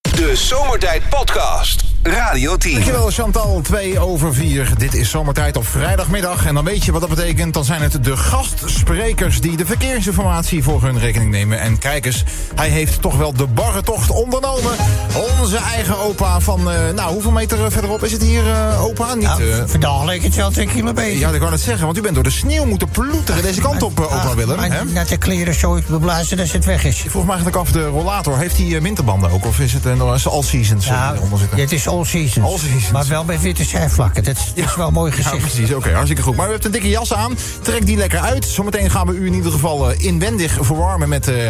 De Zomertijd Podcast. Radio 10. Dankjewel Chantal, 2 over 4. Dit is zomertijd op vrijdagmiddag. En dan weet je wat dat betekent. Dan zijn het de gastsprekers die de verkeersinformatie voor hun rekening nemen. En kijk eens, hij heeft toch wel de barre tocht ondernomen. Onze eigen opa van, eh, nou, hoeveel meter eh, verderop is het hier, eh, opa? Niet, Nou, eh, vandaag leek het wel twee kilometer. ja, ik wou het zeggen, want u bent door de sneeuw moeten ploeteren deze kant op, eh, opa Ach, Willem. Ah, maar Hè? Net de kleren zo beblazen dat het weg is. Ik vroeg me eigenlijk af, de rollator, heeft hij eh, winterbanden ook? Of is het een eh, all seasons eh, Ja, die eronder zitten? het is all seasons. All seasons. Maar wel met witte zijvlakken. Dat is, dat is wel mooi Ja, gezicht. precies. Oké, hartstikke goed. Maar u hebt een dikke jas aan. Trek die lekker uit. Zometeen gaan we u in ieder geval eh, inwendig verwarmen met... eh,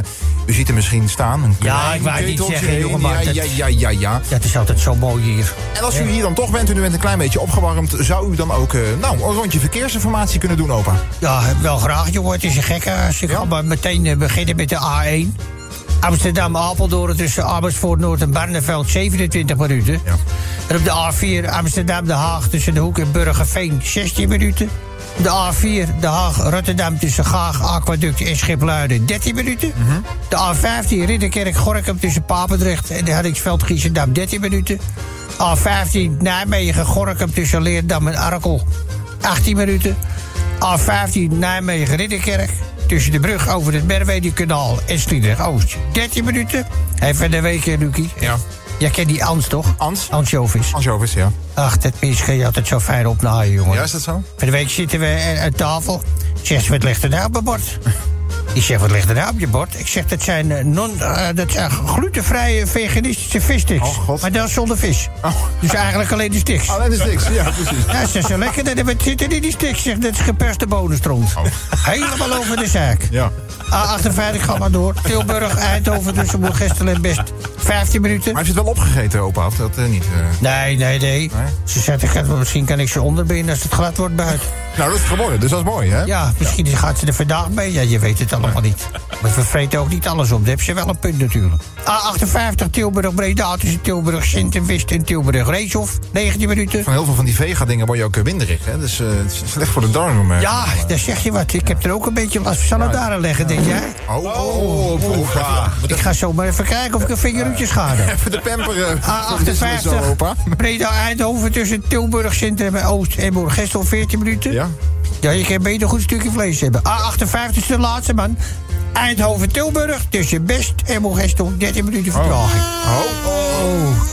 u ziet hem misschien staan. Een Ja, klein ik wou het niet keteltje zeggen, heen. jongen, maar Ja, dat- ja, ja, ja, ja. dat is altijd zo mooi hier. En als u hier dan toch bent en u bent een klein beetje opgewarmd... zou u dan ook eh, nou, een rondje verkeersinformatie kunnen doen, opa? Ja, wel graag, jongen. Het is een gekke. Als je maar meteen eh, beginnen met de A1. Amsterdam-Apeldoorn tussen Amersfoort Noord en Barneveld 27 minuten. Ja. En op de A4 Amsterdam-Den Haag tussen de Hoek en Burgerveen 16 minuten. De A4 Den Haag-Rotterdam tussen Gaag, Aquaduct en Schipluiden 13 minuten. Mhm. De A15 Ridderkerk-Gorkum tussen Papendrecht en Hellingsveld-Giessendam 13 minuten. A15 Nijmegen-Gorkum tussen Leerdam en Arkel 18 minuten. A15 Nijmegen-Ridderkerk. Tussen de brug over het Merwede-kanaal en Sliedrecht-Oost. 13 minuten. Hey, van de week, eh, Lucie. Ja. Jij kent die Ans, toch? Ans? Ans Jovis. Ansjovis, ja. Ach, dat mis je altijd zo fijn opnaaien, jongen. Ja, is dat zo? Van de week zitten we eh, aan tafel. Zegt ze, wat ligt er nou op mijn bord? Ik zeg, wat ligt er nou op je bord? Ik zeg, dat zijn, eh, non, eh, dat zijn glutenvrije veganistische vissticks. Oh, God. Maar dan zonder vis. Oh. Dus eigenlijk alleen de sticks. Alleen Oh, is niks. Ja, precies. Ja, ze is zo lekker. Dat wat zit er in die stik, zeg. Dat is geperste bonenstront. Helemaal over de zaak. Oh. Ja. A58 gaat maar door. Tilburg, Eindhoven, dus tussen Moergestel en Best. 15 minuten. Maar heeft u het wel opgegeten, opa? Of dat eh, niet? eh? Nee, nee, nee. Ze zegt, ik heb- misschien kan ik ze onderbinden als het glad wordt buiten. Nou, dat is geworden. Dus dat is mooi, hè? Ja, misschien gaat ze er vandaag mee. Ja, je weet het allemaal niet. Maar we vreten ook niet alles op. Daar heb ze wel een punt natuurlijk. A58 Tilburg-Breda tussen Tilburg Sint en Wist en Tilburg-Reeshof. 19 minuten. Van heel veel van die vega-dingen word je ook eh, winderig, hè? Dus eh, het is slecht voor de darmen. eh. Ja, daar zeg je wat. Ik heb er ook een beetje last van. Zal het daar aan leggen, denk jij? Oh, oh, opa. Ik ga zo maar even kijken of ik een vingeruntje schade. Even de pamperen. Ah, A58, Zo, opa. Breda-Eindhoven tussen Tilburg Centrum en Oost en Borgestel 14 minuten. Ja. Ja, je kan beter een goed stukje vlees hebben. A58 is de laatste man. Eindhoven-Tilburg tussen Best en Borgestel 13 minuten vertraging. Oh.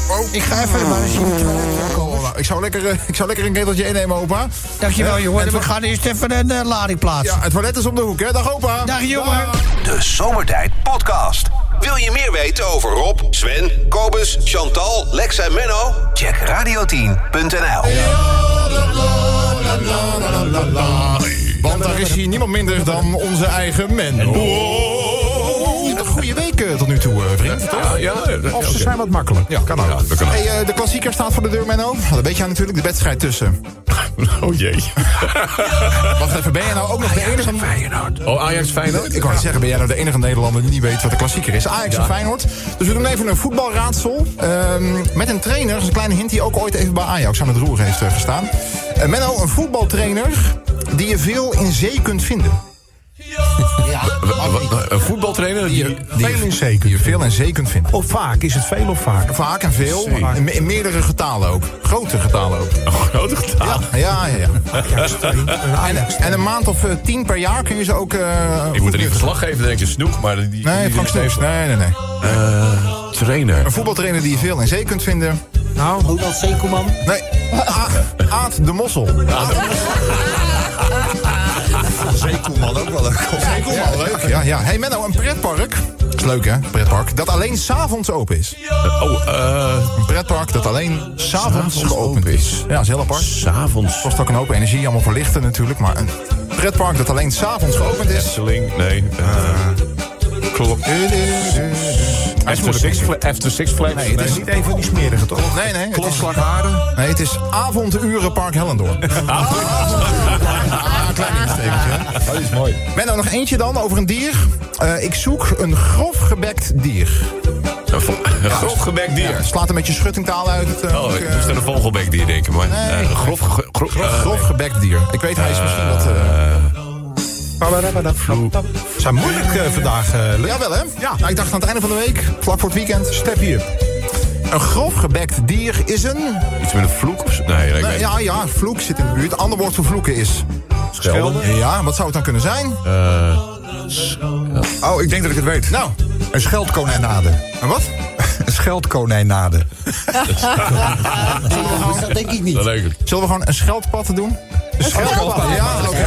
Oh. Ik ga even maar eens in het toilet komen. Oh, ik, zou lekker, eh, ik zou lekker een keteltje innemen, opa. Dankjewel, Ja, jongen. en We voor- gaan eerst even een eh, lading plaatsen. Ja, het toilet is om de hoek, hè? Dag, opa. Dag, jongen. De Zomertijd Podcast. Wil je meer weten over Rob, Sven, Kobus, Chantal, Lex en Menno? Check radio10.nl. Want daar is hier niemand minder dan onze eigen men. Oh. Goeie week eh, tot nu toe, eh, vriend. Ja, ja, ja, Of oké. ze zijn wat makkelijk. Ja, kan ook. Ja, dat kan ook. Hey, eh, de klassieker staat voor de deur, Menno. Dat weet jij natuurlijk, de wedstrijd tussen. Oh jee. Wacht even, ben jij nou ook nog de enige... Oh, Ajax Feyenoord? Ik wou net zeggen, ben jij nou de enige Nederlander die niet weet wat de klassieker is? Ajax en Ja. Feyenoord. Dus we doen even een voetbalraadsel. ehm, met een trainer, dat is een kleine hint, die ook ooit even bij Ajax aan het roer heeft eh, gestaan. Eh, Menno, een voetbaltrainer die je veel in zee kunt vinden. Ja, Wa- wa- wa- Een voetbaltrainer die... die, je- die je veel in zee kunt vinden. Of vaak? Is het veel of vaak? Vaak en veel, Zee. in, me- in meerdere getalen ook. Grote getalen ook. Oh, grote getal. Ja, ja, ja. Eh, En, en een maand of eh, tien per jaar kun je ze ook... eh, Ik moet er goed niet nuttigen. verslag geven, denk je, Snoek, maar... Die, die- Nee, die- Frank die- Snoeks. Nee, nee, nee. Eh, trainer. Een voetbaltrainer die je veel in zee kunt vinden. Nou, Ronald Sekelman. Nee, A- Aad de Mossel. Zeekoelman ook wel leuk. Ja, leuk. Ja, ja. Hey Menno, een pretpark. Is leuk hè, pretpark. Dat alleen s'avonds open is. Oh, eh... Een pretpark dat alleen s'avonds S'avonds geopend open is. Ja, is heel apart. S'avonds. Kost ook een hoop energie, allemaal voor lichten natuurlijk. Maar een pretpark dat alleen s'avonds geopend is. Efteling, nee. eh, Klopt. After Six Fla- After Six Flags. Nee, het is niet Even die smerige toch? Nee, nee. Het is, Klopslag Haren. nee, het is avonduren Park Hellendoorn. Ah, klein instekertje. hè. Dat is mooi. Menno, nog eentje dan over een dier. Eh, ik zoek een grofgebekt dier. Een vo- een grofgebekt dier. Ja, slaat een beetje schuttingtaal uit. Het, eh, Oh, ook, ik eh, moest aan een vogelbek dier denken, maar... eh, een grof... ge- grof- eh, Grofgebekt dier. Ik weet, hij is misschien wat... Oh, eh, Zijn moeilijk eh, vandaag. eh, Jawel, hè? Ja. Nou, ik dacht aan het einde van de week, vlak voor het weekend. Step hier. Een grofgebekt dier is een... eh, Iets met een vloek of zo? Nee, ik Nou, weet ja, ja, vloek zit in de buurt. Ander woord voor vloeken is... Schelden? Eh, Ja, wat zou het dan kunnen zijn? Oh, ik denk dat ik het weet. Nou, Een scheldkonijnade. en wat? Een scheldkonijnade. Dus dat denk ik niet. Dat leuk. Zullen we gewoon een scheldpad doen? Een scheldpad? Ja, oké.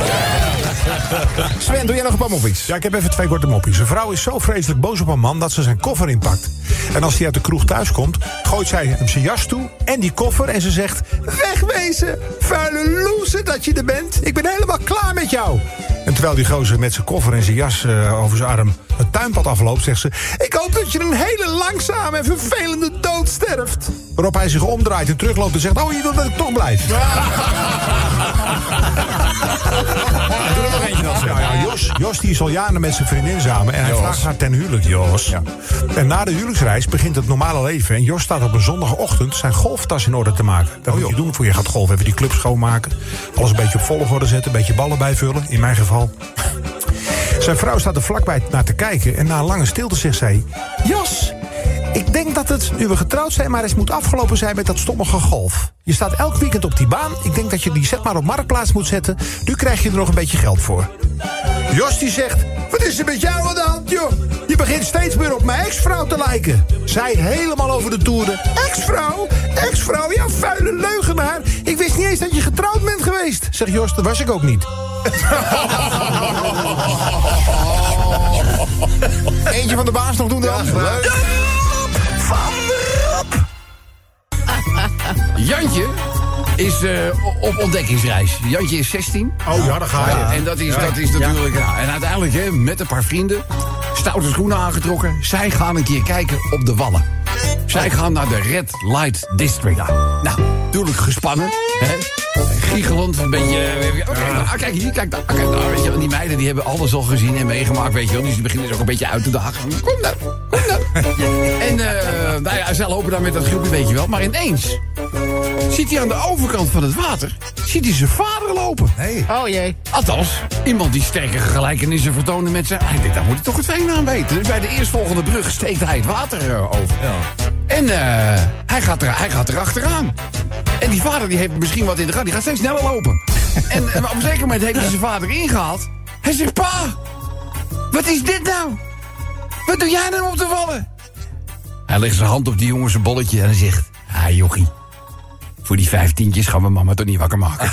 Sven, doe jij nog een paar moppies? Ja, ik heb even twee korte moppies. Een vrouw is zo vreselijk boos op een man dat ze zijn koffer inpakt. En als hij uit de kroeg thuiskomt, gooit zij hem zijn jas toe en die koffer. En ze zegt: Wegwezen, vuile loser dat je er bent. Ik ben helemaal klaar met jou. En terwijl die gozer met zijn koffer en zijn jas eh, over zijn arm het tuinpad afloopt, zegt ze: Ik hoop dat je een hele langzame en vervelende dood sterft. Waarop hij zich omdraait en terugloopt en zegt: Oh, je wilt dat ik toch blijf. Doe er nog eentje dan. Ja, ja, Jos, Jos die is al jaren met zijn vriendin samen. En hij vraagt haar ten huwelijk, Jos. En na de huwelijksreis begint het normale leven. En Jos staat op een zondagochtend zijn golftas in orde te maken. Dat moet je doen voor je gaat golven. Even die club schoonmaken. Alles een beetje op volgorde zetten. Een beetje ballen bijvullen. In mijn geval. Zijn vrouw staat er vlakbij naar te kijken. En na een lange stilte zegt zij... Jos, ik denk dat het, nu we getrouwd zijn... maar eens moet afgelopen zijn met dat stommige golf. Je staat elk weekend op die baan. Ik denk dat je die set maar op marktplaats moet zetten. Nu krijg je er nog een beetje geld voor. Jos die zegt... Wat is er met jou aan de hand, joh? Je begint steeds meer op mijn ex-vrouw te lijken. Zij helemaal over de toeren. Ex-vrouw? Ex-vrouw? Ja, vuile leugenaar. Ik wist niet eens dat je getrouwd bent geweest. Zegt Jos, dat was ik ook niet. Eentje van de baas nog doen dan? Jantje is eh, op ontdekkingsreis. Jantje is 16. Oh ja, daar ga je. En dat is, dat is natuurlijk. ja, en uiteindelijk, hè, met een paar vrienden, stoute schoenen aangetrokken. Zij gaan een keer kijken op de wallen. Zij gaan naar de Red Light District. Nou, natuurlijk gespannen. Hè? Giechelend, een beetje. eh, Oké, nou, ah, kijk hier, kijk daar. Kijk daar weet je, wel. die meiden die hebben alles al gezien en meegemaakt, weet je wel. Dus die beginnen dus ook een beetje uit te dagen. van, Kom nou, kom nou. en eh nou ja, zij lopen daar met dat groepje, weet je wel. Maar ineens ziet hij aan de overkant van het water ziet hij zijn vader lopen. Oh jee. Althans, iemand die sterke gelijkenissen vertoonde met zijn... Hij denkt, daar moet ik toch het veen aan weten. Dus bij de eerstvolgende brug steekt hij het water eh, over. En eh, hij, gaat er, hij gaat erachteraan. En die vader die heeft misschien wat in de gaten. Die gaat steeds sneller lopen. en eh, maar op een zeker moment heeft hij zijn vader ingehaald. Hij zegt, pa, wat is dit nou? Wat doe jij nou op te vallen? Hij legt zijn hand op die jongen zijn bolletje en hij zegt... Ah, jochie. Voor die vijftientjes gaan we mama toch niet wakker maken.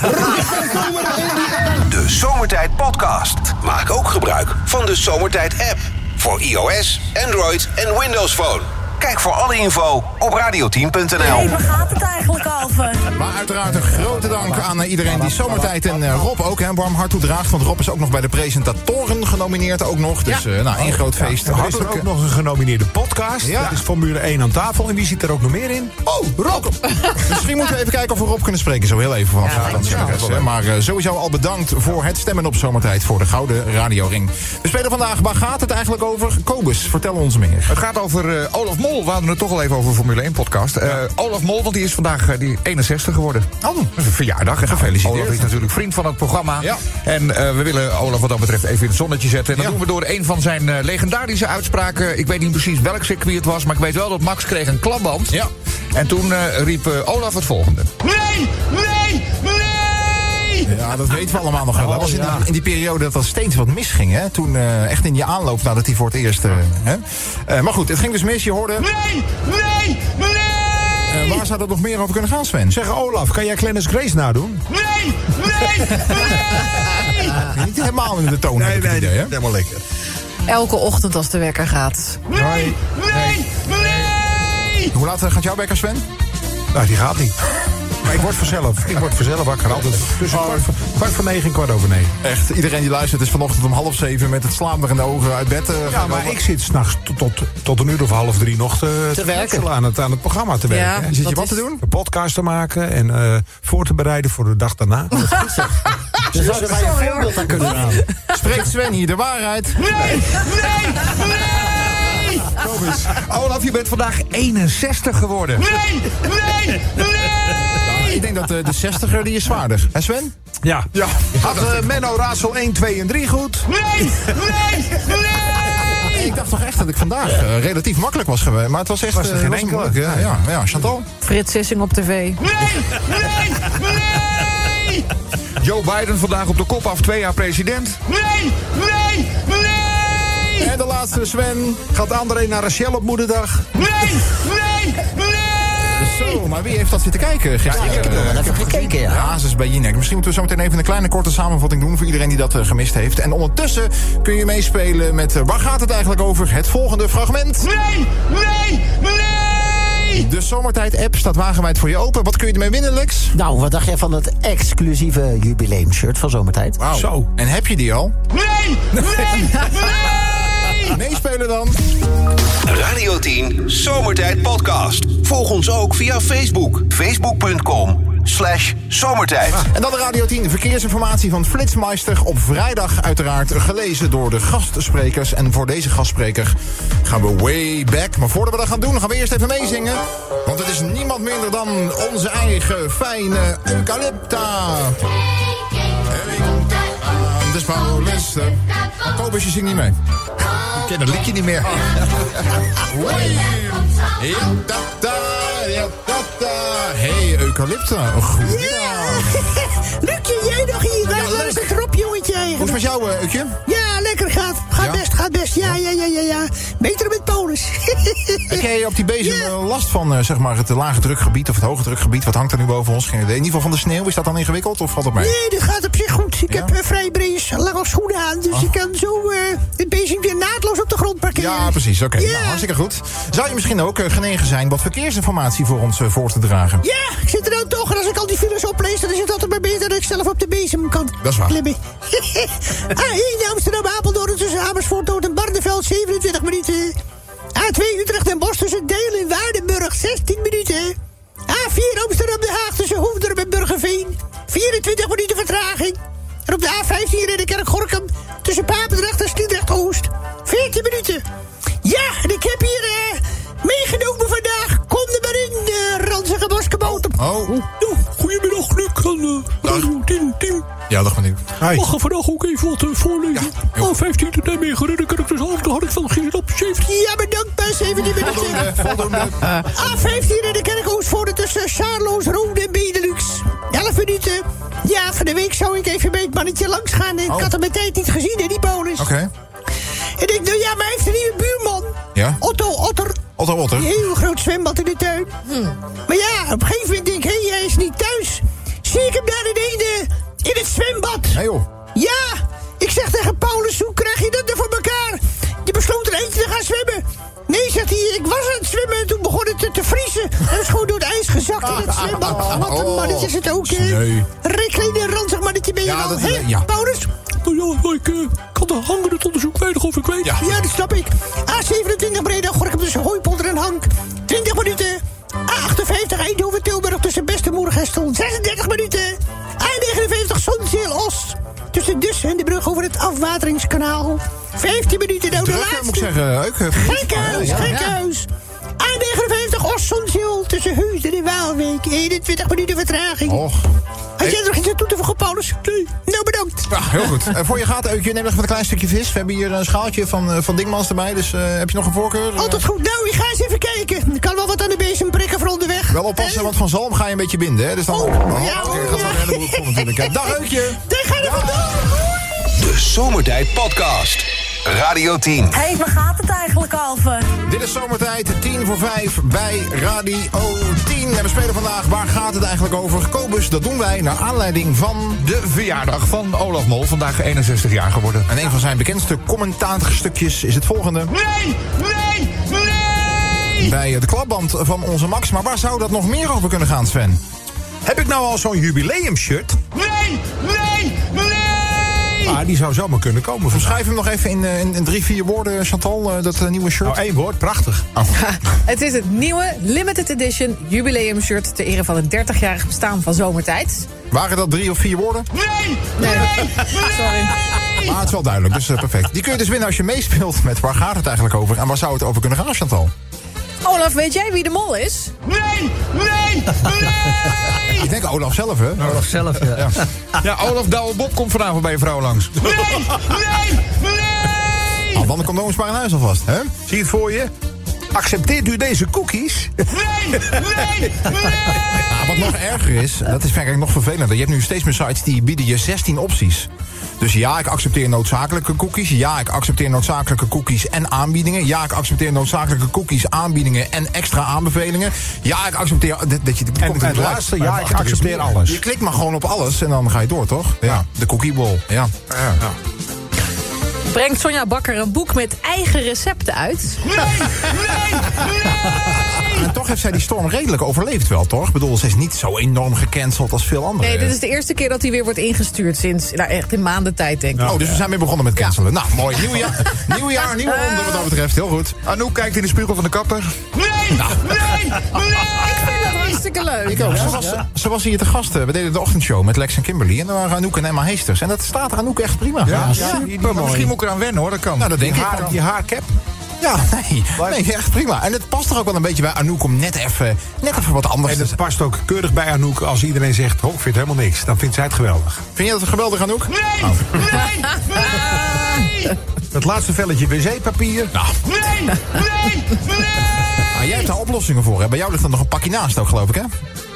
De Zomertijd Podcast. Maak ook gebruik van de Zomertijd app. Voor iOS, Android en Windows Phone. Kijk voor alle info op radio10.nl. Hé, waar gaat het eigenlijk over? Maar uiteraard een grote dank aan eh, iedereen die zomertijd en eh, Rob ook hè, een warm hart toedraagt. Want Rob is ook nog bij de presentatoren genomineerd ook nog. Dus eh, nou, één groot feest. eh, En Oh, er is er ook nog een genomineerde podcast. Ja. Dat is Formule 1 aan tafel. En wie zit er ook nog meer in? Oh, Rob! Misschien moeten we even kijken of we Rob kunnen spreken. Zo heel even vanaf ja, dat is best wel, hè. Maar eh, sowieso al bedankt voor het stemmen op Zomertijd voor de Gouden Radioring. We spelen vandaag, waar gaat het eigenlijk over? Kobus, vertel ons meer. Het gaat over eh, Olaf Mol. We hadden het toch al even over Formule 1 podcast. Eh, Olaf Mol, want die is vandaag eh, die 61 geworden. Oh. Dat is een verjaardag. en gefeliciteerd. Nou, Olaf is natuurlijk vriend van het programma. Ja. En eh, we willen Olaf wat dat betreft even in het zonnetje zetten. En dat Ja. doen we door een van zijn eh, legendarische uitspraken. Ik weet niet precies welk circuit het was, maar ik weet wel dat Max kreeg een klapband. Ja. En toen eh, riep eh, Olaf het volgende. Ja, dat weten we allemaal nog wel. Oh, Dat was in, die, in die periode dat er steeds wat misging. Hè? Toen eh, echt in je aanloop nadat hij voor het eerst... eh, hè? Eh, maar goed, het ging dus mis. Je hoorde... Nee! Nee! Nee! waar zou dat nog meer over kunnen gaan, Sven? Zeg Olaf, kan jij Glennis Grace nadoen? Niet helemaal in de toon, heb ik het idee, hè? helemaal lekker. Elke ochtend als de wekker gaat. Hoe laat eh, gaat jouw wekker, Sven? Nou, die gaat niet. Maar ik word vanzelf. Ik word vanzelf wakker. Altijd tussen kwart, voor- kwart voor negen en kwart over negen. Echt, iedereen die luistert is vanochtend om half zeven... met het slaamder in de ogen uit bed. eh, Ja, maar gekomen. ik zit s'nachts tot, tot, tot een uur of half drie nog te, te werken. Aan het, aan het programma te werken. hè. dat zit je wat is- te doen? Een podcast te maken en eh, voor te bereiden voor de dag daarna. Spreekt Sven hier de waarheid? Olaf, je bent vandaag 61 geworden. Ik denk dat eh, de zestiger, die is zwaarder. Hè, Sven? ja. ja. Had eh, Menno Raadsel 1, 2 en 3 goed? Nee! Nee! Nee! Nee, ik dacht toch echt dat ik vandaag eh, relatief makkelijk was geweest. Maar het was echt Was er eh, geen was enkele? moeilijk, ja, ja, ja, Chantal. Frits Sissing op tv. Joe Biden vandaag op de kop af, twee jaar president. En de laatste, Sven. Gaat André naar Rachel op moederdag? Zo, maar wie heeft dat zitten kijken gisteren? ik heb er wel Eh, even gezien. gekeken, ja. Hazes bij Jinek. Misschien moeten we zo meteen even een kleine korte samenvatting doen... voor iedereen die dat eh, gemist heeft. En ondertussen kun je meespelen met... eh, waar gaat het eigenlijk over? Het volgende fragment. Nee, nee, nee! De Zomertijd-app staat wagenwijd voor je open. Wat kun je ermee winnen, Lex? Nou, wat dacht jij van het exclusieve jubileumshirt van Zomertijd? Wauw. Zo. En heb je die al? Nee, nee, nee! Meespelen dan. Radio 10 Zomertijd Podcast. Volg ons ook via Facebook. Facebook.com slash zomertijd. En dan de Radio 10 verkeersinformatie van Flitsmeister. Op vrijdag uiteraard gelezen door de gastsprekers. En voor deze gastspreker gaan we way back. Maar voordat we dat gaan doen, gaan we eerst even meezingen. Want het is niemand minder dan onze eigen fijne Eucalypta. De Paulus. Kobus, je zingt niet mee. Ik ken het liedje niet meer. Hey, Eucalypta. Goedendag. Lukje, jij nog hier? Daar leuk. was het erop, jongetje. Hoe is het met jou, eh, Eukje? Ja, lekker gaat. Gaat Ja? best, gaat best. Ja, ja, ja, ja, ja. Beter met Polis. Heb jij op die bezem eh, last van eh, zeg maar het eh, lage drukgebied of het hoge drukgebied? Wat hangt er nu boven ons? Geen idee. In ieder geval van de sneeuw. Is dat dan ingewikkeld of valt het mee? Nee, dat gaat op zich goed. Ik Ja? Ah. heb eh, vrij breed lange schoenen aan. Dus ik kan zo eh het bezig weer naadloos op de grond parkeren. Ja, precies. Oké, Ja. nou, hartstikke goed. Zou je misschien ook eh, genegen zijn wat verkeersinformatie voor ons eh, voor te dragen? Ja, ik zit er dan toch. En als ik al die files oplees, dan is het altijd maar beter dat ik zelf op de bezem kan Dat is waar. klimmen. A1 Amsterdam, Apeldoorn tussen Amersfoort, Noord en Barneveld, 27 minuten. A2 Utrecht en Bos tussen Deel en Waardenburg, 16 minuten. A4 Amsterdam Den Haag tussen Hoefdorp en Burgerveen, 24 minuten vertraging. En op de A15 Ridderkerk-Gorkum tussen Papendrecht en Sliedrecht-Oost, 14 minuten. Ja, en ik heb hier eh, meegenomen vandaag. Kom er maar in, eh ranzige basketbal. Oh. Nou, goedemiddag, Luc. En, eh Radio Tim, Tim. Ja, dat benieuwd. Hi. Mag ik vandaag ook even wat eh, voorlezen? heel oh, 15 tot Nijmegen, Ridderkerk, dus had ik- had ik van gisteren op 17. Ja, bedankt, pas 17 minuten. Voldoende. A15 Ah, in de kerkhoos voor de tussen Charloes, Rode en Benelux. 11 minuten. Ja, van de week zou ik even bij het mannetje langs gaan. En Oh. ik had hem mijn tijd niet gezien, hè, die bonus. Oké. En ik denk, nou ja, maar hij heeft een nieuwe buurman. Ja? Otto Otter. Otto Otter. Een heel groot zwembad in de tuin. Maar ja, op een gegeven moment denk ik, hé, hij is niet thuis. Zie ik hem daar beneden in het zwembad. Nee joh. Ja, ik zeg tegen Paulus, hoe krijg je dat er voor elkaar? Je besloot er eentje te gaan zwemmen. Nee, zegt hij, ik was aan het zwemmen en toen begon het te, te vriezen. En is gewoon door het ijs gezakt in het zwembad. Wat een Oh, mannetje is het ook, sneu. hè? Rikkelen, een ranzig mannetje ben je Ja, wel, dat- hè, ja. Paulus? Nou ja, ik kan de hangen het onderzoek weinig of ik weet. Ja. Ja, dat snap ik. A27 Breda, Gorkum tussen Hooipolder en Hank. 20 minuten. A58 Eindhoven, Tilburg tussen Bestemoer en Gestel. 36 minuten. A59 Zonzeel, Os. Tussen Dus en de brug over het afwateringskanaal. 15 minuten. Nou, de Druk, eh, laatste. moet ik zeggen. Euk. eh, Gekhuis, ja, ja. gekhuis. A59 Os Zonzeel tussen Huizen en Waalwijk. 21 minuten vertraging. Och. Had jij er nog iets aan toe te voegen, Paulus? Nee. Nou, bedankt. Ja, heel goed. Eh, voor je gaat, Eukje, neem nog even een klein stukje vis. We hebben hier een schaaltje van, eh, van Dingmans erbij. Dus eh, heb je nog een voorkeur? Altijd goed. Nou, ik ga eens even kijken. Ik kan wel wat aan de bezem prikken voor onderweg. Wel oppassen, Eh, want van zalm ga je een beetje binden. Hè? Dus dan... Oh, ja, oké, oh, gaat wel ja. een heleboel komen natuurlijk. hè. Dag, Eukje. Daar ga je vandoor. De Zomertijd Podcast. Radio 10. Hé, hey, waar gaat het eigenlijk over? Dit is zomertijd, 10 voor 5 bij Radio 10. En we spelen vandaag Waar gaat het eigenlijk over? Kobus, dat doen wij naar aanleiding van... De verjaardag van Olaf Mol, vandaag 61 jaar geworden. En een van zijn bekendste commentaarstukjes is het volgende. Nee, nee, nee. Bij de klapband van onze Max. Maar waar zou dat nog meer over kunnen gaan, Sven? Heb ik nou al zo'n jubileumshirt? Nee, nee, nee. Ah, die zou zomaar kunnen komen. Waarschijnlijk. Schrijf hem nog even in, eh, in, in drie, vier woorden, Chantal, eh, dat eh, nieuwe shirt. Oh. Nou, één woord, prachtig. Het is het nieuwe limited edition jubileumshirt... ter ere van het 30-jarig bestaan van Zomertijd. Waren dat drie of vier woorden? Nee, sorry. Maar het is wel duidelijk, dus eh, perfect. Die kun je dus winnen als je meespeelt met Waar gaat het eigenlijk over? En waar zou het over kunnen gaan, Chantal? Olaf, weet jij wie de mol is? Ik denk Olaf zelf, hè? Olaf zelf, ja. Ja, Olaf Douwe Bob komt vanavond bij je vrouw langs. Al Oh, dan de condooms maar in huis alvast. Hè? Zie je het voor je? Accepteert u deze cookies? Nee, nee, nee! Ah, wat nog erger is, dat is eigenlijk nog vervelender. Je hebt nu steeds meer sites die bieden je 16 opties. Dus ja, ik accepteer noodzakelijke cookies. Ja, ik accepteer noodzakelijke cookies en aanbiedingen. Ja, ik accepteer noodzakelijke cookies, aanbiedingen en extra aanbevelingen. Ja, ik accepteer... Dat, dat je, en het laatste, ja, ik accepteer alles. Je klikt maar gewoon op alles en dan ga je door, toch? Ja, de cookie bowl. Ja. ja. Brengt Sonja Bakker een boek met eigen recepten uit? En toch heeft zij die storm redelijk overleefd wel, toch? Ik bedoel, ze is niet zo enorm gecanceld als veel anderen. Nee, dit is de eerste keer dat hij weer wordt ingestuurd sinds nou, echt in maanden tijd, denk ik. Oh, dus we zijn weer begonnen met cancelen. Nou, mooi. Nieuw jaar, nieuw jaar, nieuwe ronde wat dat betreft. Heel goed. Anouk kijkt in de spiegel van de kapper. Nee, nee, nee! Ik vind dat hartstikke leuk. Ik ook. Ze was, ze was hier te gast. eh, We deden de ochtendshow met Lex en Kimberly. En daar waren Anouk en Emma Heesters. En dat staat Anouk echt prima. Maar misschien moet ik eraan wennen hoor, dat kan. Nou, dat denk Die ik haar- wel. Die haarcap. Ja, nee. Nee, echt prima. En het past er ook wel een beetje bij Anouk om net even, net even wat anders En te dat past ook keurig bij Anouk als iedereen zegt... Ho, ik vind helemaal niks. Dan vindt zij het geweldig. Vind je dat geweldig, Anouk? Nou. Nee, nee, nee! Dat laatste velletje wc-papier. Nou, Nee, nee, nee! maar Ah, jij hebt daar oplossingen voor. Hè? Bij jou ligt er nog een pakje naast ook, geloof ik, hè?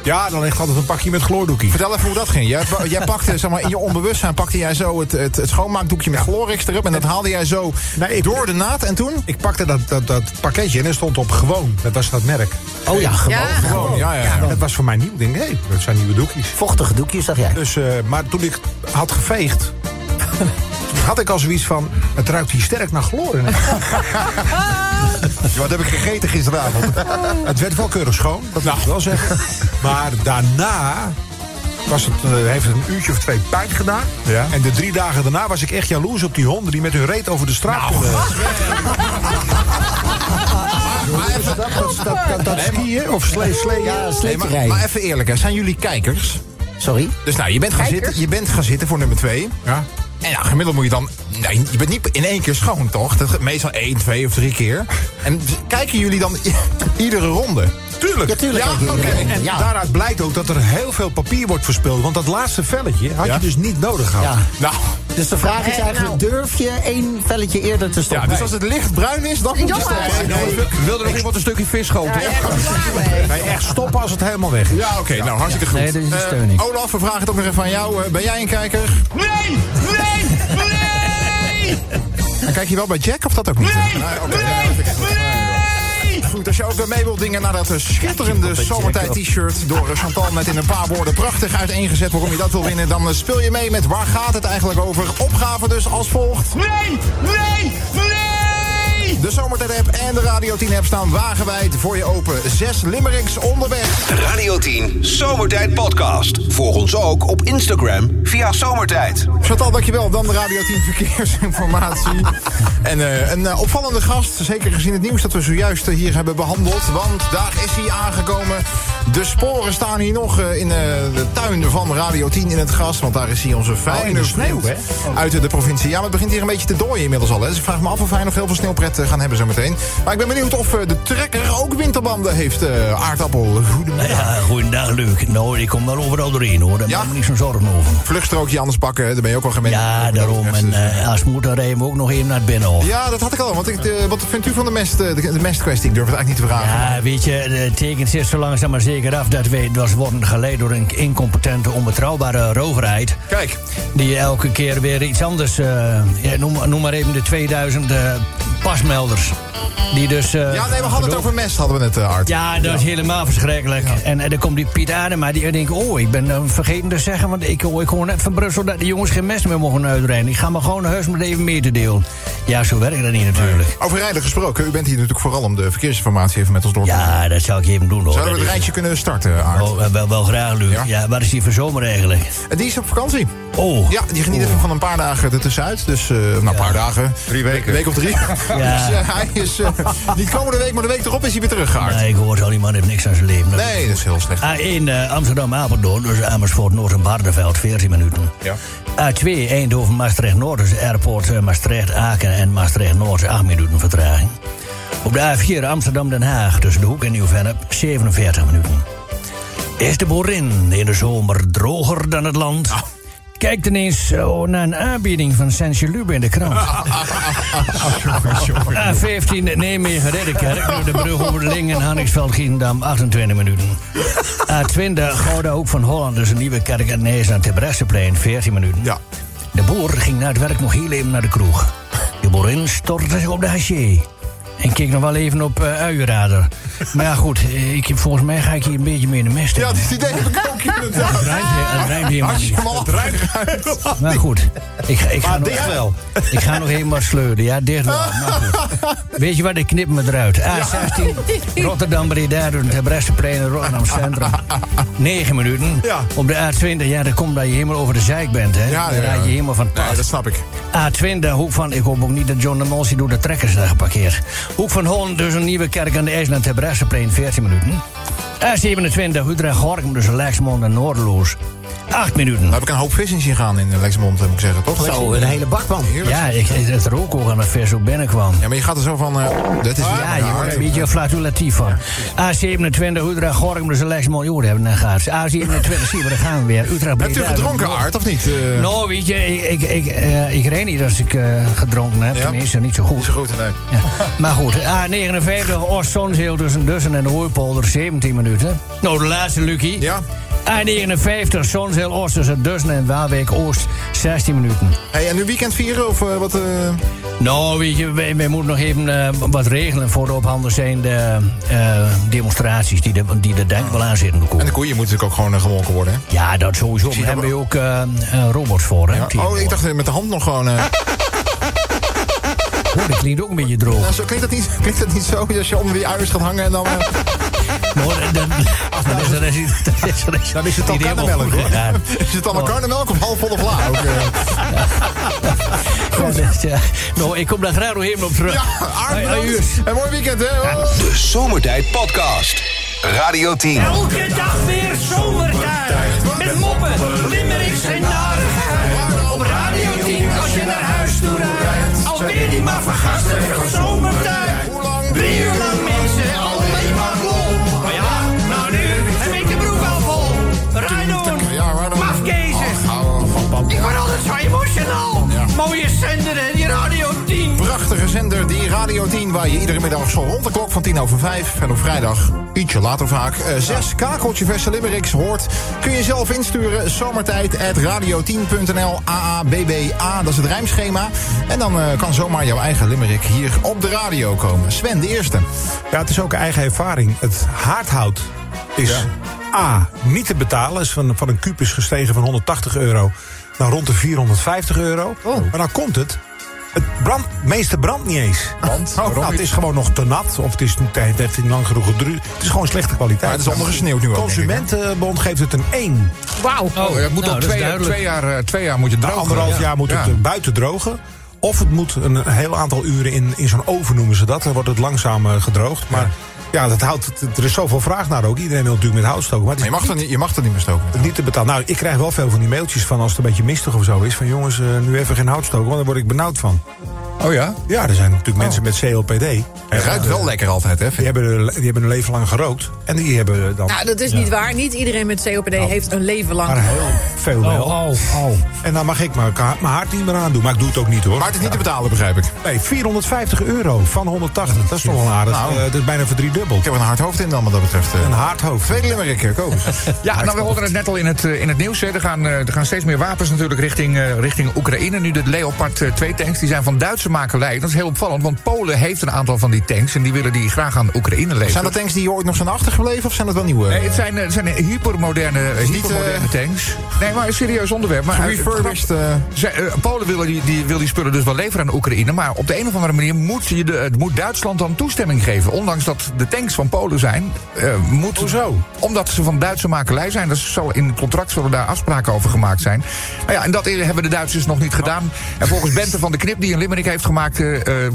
Ja, dan ligt altijd een pakje met gloordoekie. Vertel even hoe dat ging. Jij, pa- jij pakte, zeg maar, in je onbewustzijn pakte jij zo het, het, het schoonmaakdoekje met Glorix erop. En dat haalde jij zo Nee, ik- door de naad. En toen? Ik pakte dat, dat, dat pakketje en er stond op gewoon. Dat was dat merk. Oh ja, Ja, Gewoon, ja, ja. ja. Dat was voor mij nieuw. Ik denk, hé, dat zijn nieuwe doekjes. vochtige doekjes, zag jij. Dus, eh, maar toen ik had geveegd, had ik al zoiets van... het ruikt hier sterk naar chloor. Wat heb ik gegeten gisteravond? het werd wel keurig schoon, dat moet ik wel zeggen. Maar daarna was het, eh, heeft het een uurtje of twee pijn gedaan. Ja. En de drie dagen daarna was ik echt jaloers op die honden... die met hun reet over de straat Nou, konden. dat, dat, dat, dat, dat skiën of slee, slee. Ja, Nee, maar, sleeterij. maar even eerlijk, hè. zijn jullie kijkers? Sorry? Dus nou, je bent, gaan Kijkers? zitten, je bent gaan zitten voor nummer 2. Ja. En ja, gemiddeld moet je dan... Nee, je bent niet in één keer schoon, toch? Dat, gaat meestal één, twee of drie keer. En dus kijken jullie dan i- iedere ronde? Tuurlijk. Ja, tuurlijk. Ja, Kijk, oké. eh, En ja. daaruit blijkt ook dat er heel veel papier wordt verspild. Want dat laatste velletje had Ja? je dus niet nodig gehad. Ja. Nou, Dus de vraag is nou. Eh, eigenlijk, durf je één velletje eerder te ja, stoppen? dus als het lichtbruin is, dan moet je Jammer. stoppen. Wilde nog iemand een stukje vis schoten? Ja, echt klaar mee. Nee, echt stoppen als het helemaal weg is. Ja, oké, nou hartstikke goed. Nee, dit is een Eh, steuning. Olaf, we vragen het ook nog even aan jou. Eh, ben jij een kijker? Nee, nee, nee! En kijk je wel bij Jack of dat ook niet? Nee, Nou, oké, ja, dat nee, vind ik goed. nee! Goed, als je ook weer mee wilt dingen naar dat eh, schitterende zomertijd-t-shirt... door eh, Chantal met in een paar woorden prachtig uiteengezet waarom je dat wil winnen... dan eh, speel je mee met Waar gaat het eigenlijk over? Opgave dus als volgt. Nee, nee, nee! De Zomertijd-app en de Radio 10-app staan wagenwijd voor je open. Zes limericks onderweg. De Radio 10 Zomertijd Podcast. Volg ons ook op Instagram via Zomertijd. Chantal, dankjewel. Dan de Radio 10 Verkeersinformatie. en eh, een eh, opvallende gast, zeker gezien het nieuws dat we zojuist eh, hier hebben behandeld. Want daar is hij aangekomen. De sporen staan hier nog eh, in eh, de tuin van Radio 10 in het gras. Want daar is hier Oh, onze in fijne de sneeuw, vriend hè? Uit eh, de provincie. Ja, maar het begint hier een beetje te dooien inmiddels al. Hè. Dus ik vraag me af of wij nog heel veel sneeuwpret eh, gaan hebben zometeen. Maar ik ben benieuwd of eh, de trekker ook winterbanden heeft. eh, aardappel, goedemiddag. Ja, goedendag Luc. Nou, ik kom daar overal doorheen hoor. Daar Ja? maak ik me niet zo'n zorgen over. Vluchtstrookje anders pakken, hè, daar ben je ook al gewend. Ja, Ik bedoel, daarom. echt, En dus- eh, als het moet, dan rijden we ook nog even naar het binnenhof. Ja. Ja, dat had ik al. Want ik, eh, wat vindt u van de, mest, eh, de, de mestkwestie? Ik durf het eigenlijk niet te vragen. Ah, weet je, het tekent zich zo langzaam maar zeker af dat wij dus worden geleid door een incompetente, onbetrouwbare roverheid. Kijk. Die elke keer weer iets anders. eh, ja, noem, noem maar even de 2000 eh, pasmelders. Die dus. eh, Ja, nee, we hadden het verdoven- over mest, hadden we net, eh, Art. Ja, dat is helemaal verschrikkelijk. En, en dan komt die Piet Adema, die denkt... oh, ik ben eh, vergeten te zeggen, want ik, hoor- ik hoor net van Brussel... dat de jongens geen mes meer mogen uitrijden. Ik ga me gewoon heus maar even mee te delen. Ja, zo werkt dat niet natuurlijk. Over rijden gesproken. U bent hier natuurlijk vooral om de verkeersinformatie even met ons door te nemen. Ja, Ah, dat zou ik even doen, hoor. Zouden Dat we het is- rijtje kunnen starten, Art? Oh, eh, wel, wel graag, Luc. Ja? Ja? waar is die voor zomer eigenlijk? Eh, Die is op vakantie. Oh. Ja, die geniet even van een paar dagen ertussenuit. Dus, eh nou, een paar dagen. Drie weken. Een week of drie. dus eh, hij is eh, niet komende week, maar de week erop is hij weer terug, Art. Nee, ik hoor zo, die man heeft niks aan zijn leven. Dat- Nee, dat is heel slecht. A1 eh, Amsterdam-Apeldoorn, dus Amersfoort, Noord en Barneveld, 14 minuten. Ja. A2 Eindhoven, Maastricht-Noord, dus Airport eh, Maastricht, Aken en Maastricht-Noord, 8 minuten vertraging. Op de A4 Amsterdam-Den Haag, tussen de Hoek en Nieuw-Vennep, 47 minuten. Is de boerin in de zomer droger dan het land? kijkt ineens eh, naar een aanbieding van Sensje Lube in de krant. A15 Nijmegen Reddenkerk door de brug over de Ling en Hanningsveld Giendam 28 minuten. A20 Gouden Hoek van Holland dus een nieuwe kerk en Nees aan Terbrechtseplein 14 minuten. Ja. De boer ging na het werk nog heel even naar de kroeg. De boerin stortte zich op de haché. En keek nog wel even op eh uienrader. Maar ja, goed, eh, ik, volgens mij ga ik hier een beetje meer in de mest. Ja, dat idee heb ik ook inderdaad. Het rijmt weer- het rijmt weer helemaal niet. Het rijmt Maar goed, ik, ga- ik ga Maar nog, dicht wel. Ik ga nog helemaal sleuren, ja, dicht wel. Maar goed. Weet je wat, ik knip me eruit. A16, Rotterdam, Breda, door het Bresseplein in Rotterdam Centrum. 9 minuten. Op de A20, ja, dat komt dat je helemaal over de zeik bent, hè. Ja, Dan ja, raak ja. je helemaal van het pad. Nee, dat snap ik. A20, hoek van... Ik hoop ook niet dat John de Molsey door de trekkers daar geparkeerd. Hoek van Holland, dus een nieuwe kerk aan de IJsland ter Bresseplein, 14 minuten. A27, Utrecht-Gorkum, dus Lexmond en Noordeloos. 8 minuten. Daar heb ik een hoop vis in zien gaan in eh, Lexmond, moet ik zeggen, toch? Zo, een hele bakpan. Ja, ik, het rook ook aan het vers ook binnenkwam. Dus Ja, maar je gaat er zo van... eh, dat is ja, je wordt een beetje Ja. flatulatief van. A27, Utrecht, Gorkum, dus een Lexmond. Joh, daar hebben we naar gehad. A27, zie je, daar gaan we weer. Utrecht, Hebt u Breda, gedronken, Aard, of niet? Eh, Nou, weet je, ik, ik, ik, eh, ik reed niet als ik eh, gedronken heb. Tenminste, niet zo goed. Zo goed, nee. Maar goed, A59, Oost-Zonsheel tussen Dussen en de Hooipolder, 17 minuten. Nou, de laatste, Lucky. Ja. A59, Zonsheel Oost tussen Dussen en Waalwijk Oost, 16 minuten. Hey, en nu weekend vieren, of eh, wat... eh, Nou, weet je, wij, wij moeten nog even eh, wat regelen voor de op handen zijnde eh, demonstraties die, de, die er denk wel aan zitten te komen. En de koeien moeten natuurlijk ook gewoon eh, gemolken worden, hè? Ja, dat sowieso. Zie je Daar hebben we dat ook eh, eh, robots voor, hè? Ja. Oh, ik dacht eh, met de hand nog gewoon... eh, Oh, dat klinkt ook een beetje droog. nou, zo klinkt dat niet, klinkt dat niet zo, als je onder die uiers gaat hangen en dan... eh, Maar dan, dan is er- dan is er- dan is er- nou, Dan is het al niet helemaal karnemelk, goed hoor. gedaan. Is het allemaal karnemelk of half vol of laag? Ook, eh, Ja, dat, ja. Nou, ik kom daar graag nog even op terug. Ja, Hoi, aardig. hoi, bedankt. En mooi weekend, hè? Hoi. De Zomertijd Podcast. Radio 10. Elke dag weer zomertijd. Met moppen, limericks en narigheid. Op Radio 10 als je naar huis toe rijdt. Alweer die maar vergastige zomertijd. Drie uur lang mensen, alleen maar lol. Maar ja, nou nu heb ik de broek al vol. Oh. Rijdon, mafkezen. Ik word altijd zo emotional. Mooie zender en die Radio 10. Prachtige zender, die Radio 10, waar je iedere middag zo rond de klok van 10 over 5 en op vrijdag, ietsje later vaak, eh, zes kakeltje verse limericks hoort. Kun je zelf insturen, zomertijd at radio10.nl, AABBA, dat is het rijmschema. En dan eh, kan zomaar jouw eigen limerick hier op de radio komen. Sven, de eerste. Eh, Ja, het is ook eigen ervaring. Het haardhout is A, niet te betalen. Is van, van een kuub is gestegen van 180 euro naar rond de 450 euro. Oh. Maar dan komt het. Het brand, meeste brandt niet eens. Want? nou, het is gewoon nog te nat. Of het, is, niet- het heeft niet lang genoeg gedrukt. Het is gewoon slechte kwaliteit. Maar het is ondergesneeuwd nu ook, De denk ik, hè? Consumentenbond geeft het een 1. Wauw. Oh, dat moet nou, op dat is twee, jaar- duidelijk. twee jaar, eh, twee jaar moet je Na drogen. anderhalf Ja. jaar moet Ja. het eh, buiten drogen. Of het moet een heel aantal uren in, in zo'n oven noemen ze dat. Dan wordt het langzaam eh, gedroogd. Maar ja, dat houdt, het- er is zoveel vraag naar ook. Iedereen wil natuurlijk met hout stoken. Maar het Maar is je mag er niet, niet, je mag er niet meer stoken. niet te betalen. Nou, ik krijg wel veel van die mailtjes van als het een beetje mistig of zo is. Van jongens, eh, nu even geen hout stoken, want daar word ik benauwd van. Oh ja? Ja, er zijn natuurlijk mensen met COPD. Het ruikt wel lekker altijd, hè? Eh, Die hebben, er- die hebben een leven lang gerookt. En die hebben dan... Nou, dat is niet waar. Niet iedereen met COPD heeft een leven lang. Nou. Maar heel veel wel. En dan mag ik mijn, ka- mijn hart niet meer aandoen. Maar ik doe het ook niet hoor. Maar het is niet te betalen, begrijp ik. Nee, 450 euro van 180. Dat is toch wel aardig. Nou. Eh, dat is bijna verdriedubbeld. Ik heb een hard hoofd in dan, wat dat betreft. eh. Een hard hoofd. Tweede limerick, Kobus. Ja, nou, we hoorden het net al in het, eh, in het nieuws. hè. Er gaan, eh, er gaan steeds meer wapens natuurlijk richting, eh, richting Oekraïne. Nu de Leopard 2-tanks, die zijn van Duitse makelij. Dat is heel opvallend, want Polen heeft een aantal van die tanks... en die willen die graag aan Oekraïne leveren. Zijn dat tanks die hier ooit nog zijn achtergebleven, of zijn dat wel nieuwe? Nee, het zijn, eh, het zijn hypermoderne, niet, hypermoderne eh, tanks. Nee, maar een serieus onderwerp. Maar uit- Refurbished... eh, Zij- eh, Polen wil die, die, wil die spullen dus wel leveren aan Oekraïne. Maar op de een of andere manier moet, je de, het moet Duitsland dan toestemming geven. Ondanks dat de tanks van Polen zijn. eh, moet, Hoezo? Omdat ze van Duitse makelij zijn. Dat zal in het contract zullen daar afspraken over gemaakt zijn. Nou ja, en dat hebben de Duitsers nog niet gedaan. En volgens Bente van de Knip, die een limerick heeft gemaakt. eh, eh, eh,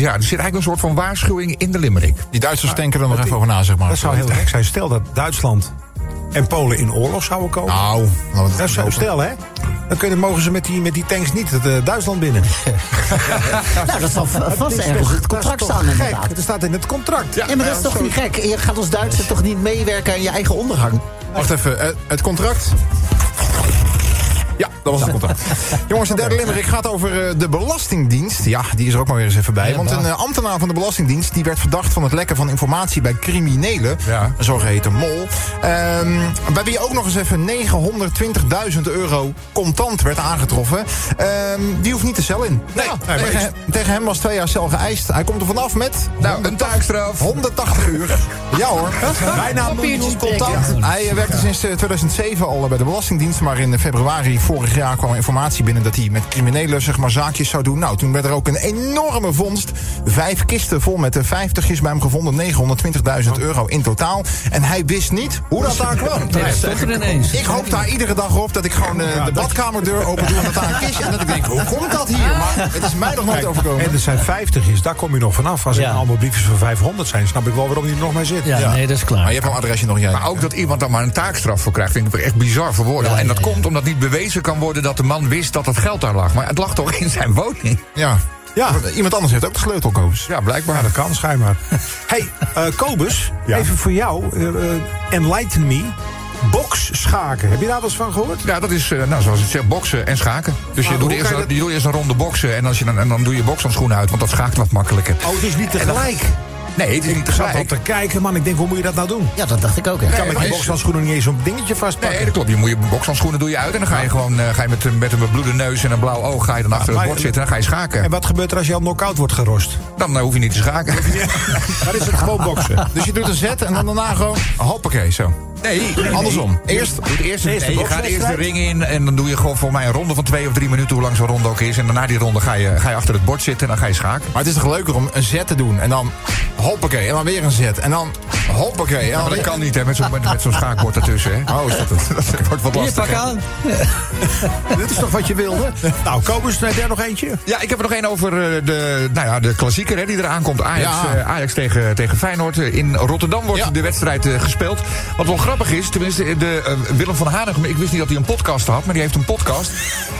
ja, er zit eigenlijk een soort van waarschuwing in de limerick. Die Duitsers denken er nog even over na, zeg maar. Dat zou heel gek zijn. Stel dat Duitsland en Polen in oorlog zouden komen. Nou, laten we het dat goed zou, hopen. stel hè. Dan kunnen, mogen ze met die, met die tanks niet het eh, Duitsland binnen. Nou, dat zal va- vast is ergens toch- in het dat contract is toch staan, gek. inderdaad. Dat staat in het contract. Ja, maar dat is toch niet gek? Je gaat als Duitser toch niet meewerken aan je eigen ondergang? Wacht even, eh, het contract. Ja, dat was Nou. het contract. Jongens, de derde limerick gaat over eh, de Belastingdienst. Ja, die is er ook maar weer eens even bij. want een eh, ambtenaar van de Belastingdienst... die werd verdacht van het lekken van informatie bij criminelen. Een zogeheten mol. Ehm, bij wie ook nog eens even 920.000 euro contant werd aangetroffen. Ehm, die hoeft niet de cel in. Ja, nee, maar tegen, is- hem- tegen hem was twee jaar cel geëist. Hij komt er vanaf met... Nou, een taakstraf. 180 uur. Ja hoor. Bijna een miljoen contant. Hij eh, werkte sinds eh, 2007 al eh, bij de Belastingdienst. Maar in eh, februari vorig jaar kwam informatie binnen dat hij met criminelen zeg maar, zaakjes zou doen. Nou, toen werd er ook een enorme vondst. Vijf kisten vol met de vijftigjes bij hem gevonden. 920.000 euro in totaal. En hij wist niet hoe dat daar kwam. Nee, dat stond er ineens. Ik hoop daar iedere dag op dat ik gewoon eh, de badkamerdeur open doe en dat daar een kistje. En dat ik denk, hoe komt dat hier? Maar het is mij nog nooit Kijk, overkomen. En er zijn 50 is, daar kom je nog vanaf. Als er nou allemaal briefjes van 500 zijn, snap ik wel waarom die er nog maar zit. Maar je hebt een adresje nog jij. Maar ook dat iemand daar maar een taakstraf voor krijgt, vind ik echt bizar voor woorden. en dat komt omdat niet bewezen kan worden dat de man wist dat het geld daar lag. Maar het lag toch in zijn woning? Ja. Ja, iemand anders heeft ook de sleutel, Kobus. Ja, blijkbaar. Ja, dat kan schijnbaar. hey, eh, Kobus, even voor jou. eh, eh, enlighten me. Boxschaken. Heb je daar wel eens van gehoord? Ja, dat is, eh, nou, zoals het zegt, boksen en schaken. Dus Maar je, doet hoe eerst, kan je een- je doet eerst een ronde boksen en, als je dan, en dan doe je bokshandschoenen uit, want dat schaakt wat makkelijker. Oh, het is niet En dan- tegelijk. Nee, het is niet Ik zat al tegelijk. te kijken, man. Ik denk, hoe moet je dat nou doen? Ja, dat dacht ik ook. Ik kan met die bokshandschoenen niet eens zo'n dingetje vastpakken. Nee, dat klopt. Je moet je bokshandschoenen doe je uit en dan ga je gewoon eh, ga je met, een- met een bebloede neus en een blauw oog ga je dan achter het maar- bord zitten en dan ga je schaken. En wat gebeurt er als je al knock-out wordt gerost? Dan eh, hoef je niet te schaken. Dat is het gewoon boksen. Dus je doet een zet en dan daarna gewoon... Hoppakee, zo. Nee, nee, Andersom. nee. Eerst- Doe het eerst, eerst de nee, je gaat eerst de bokswedstrijd. ring in en dan doe je gewoon voor mij een ronde van twee of drie minuten, hoe lang zo'n ronde ook is. En daarna die ronde ga je, ga je achter het bord zitten en dan ga je schaken. Maar het is toch leuker om een zet te doen en dan hoppakee, en dan weer een zet. En dan hoppakee. En Ja, dan maar dat kan niet hè, met zo'n met, met zo'n schaakbord ertussen. Hè. Oh, is dat het? Dat wordt wat lastig. hè. Dit is toch wat je wilde? Nou, Kobus, heb jij nog eentje? Ja, ik heb er nog één over eh, de, nou ja, de klassieker hè, die eraan komt. Ajax, Ja. eh, Ajax tegen, tegen Feyenoord. Eh, In Rotterdam wordt de wedstrijd eh, gespeeld. Wat wel grappig is, tenminste eh, de, eh, Willem van Hanegem... ik wist niet dat hij een podcast had, maar die heeft een podcast.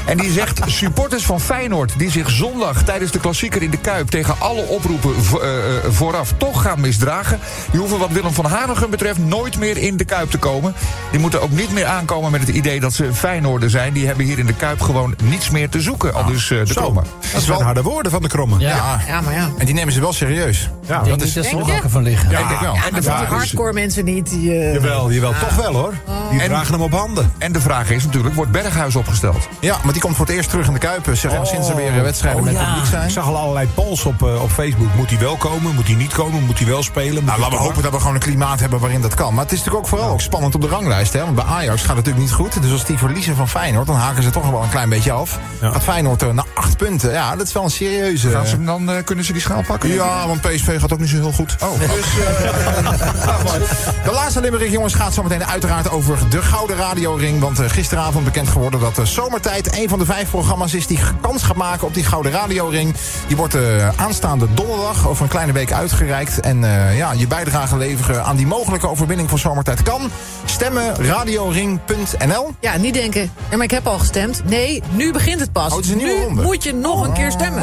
En die zegt, supporters van Feyenoord... die zich zondag tijdens de klassieker in de Kuip... tegen alle oproepen vo- eh, eh, vooraf toch gaan misdragen... die hoeven wat Willem van Hanegem betreft nooit meer in de Kuip te komen. Die moeten ook niet meer aankomen met het idee dat ze Feyenoorden zijn. Die hebben hier in de Kuip gewoon niets meer te zoeken. Al dus eh, de Krommer. Dat is wel harde woorden van de kromme. Oh. Ja. Ja, maar ja. En die nemen ze wel serieus. Ja, denk niet dat ze er wakker van liggen. Ja, dus- ik denk wel. Ja, dat doen die hardcore mensen niet. Die, eh, Jawel, jawel. Toch wel, hoor. Die En- dragen hem op handen. En de vraag is natuurlijk, wordt Berghuis opgesteld? Ja, maar die komt voor het eerst terug in de Kuip. Zeg, Sinds er weer eh, wedstrijden Oh, met ja. publiek zijn. Ik zag al allerlei polls op, eh, op Facebook. Moet hij wel komen? Moet hij niet komen? Moet hij wel spelen? Moet Nou, hij laten we hopen dat we gewoon een klimaat hebben waarin dat kan. Maar het is natuurlijk ook vooral ook spannend op de ranglijst. Hè? Want bij Ajax gaat het natuurlijk niet goed. Dus als die verliezen van Feyenoord, dan haken ze toch wel een klein beetje af. Gaat Feyenoord eh, naar acht punten. Ja, dat is wel een serieuze... Gaan ze hem dan, eh, kunnen ze die schaal pakken? Ja, want PSV gaat ook niet zo heel goed. Oh. Dus, eh, ja, mooi. de laatste limerick, jongens, gaat zo meteen uiteraard over de Gouden Radioring. Want eh, gisteravond bekend geworden dat eh, Zomertijd een van de vijf programma's is die kans gaat maken op die Gouden Radioring. Die wordt eh, aanstaande donderdag over een kleine week uitgereikt. En eh, ja, je bijdrage leveren aan die mogelijke overwinning van Zomertijd kan. Stemmen radioring.nl. Ja, niet denken, ja, maar ik heb al gestemd. Nee, nu begint het pas. Oh, het is een nieuwe nu ronde. Oh, moet je nog een keer stemmen.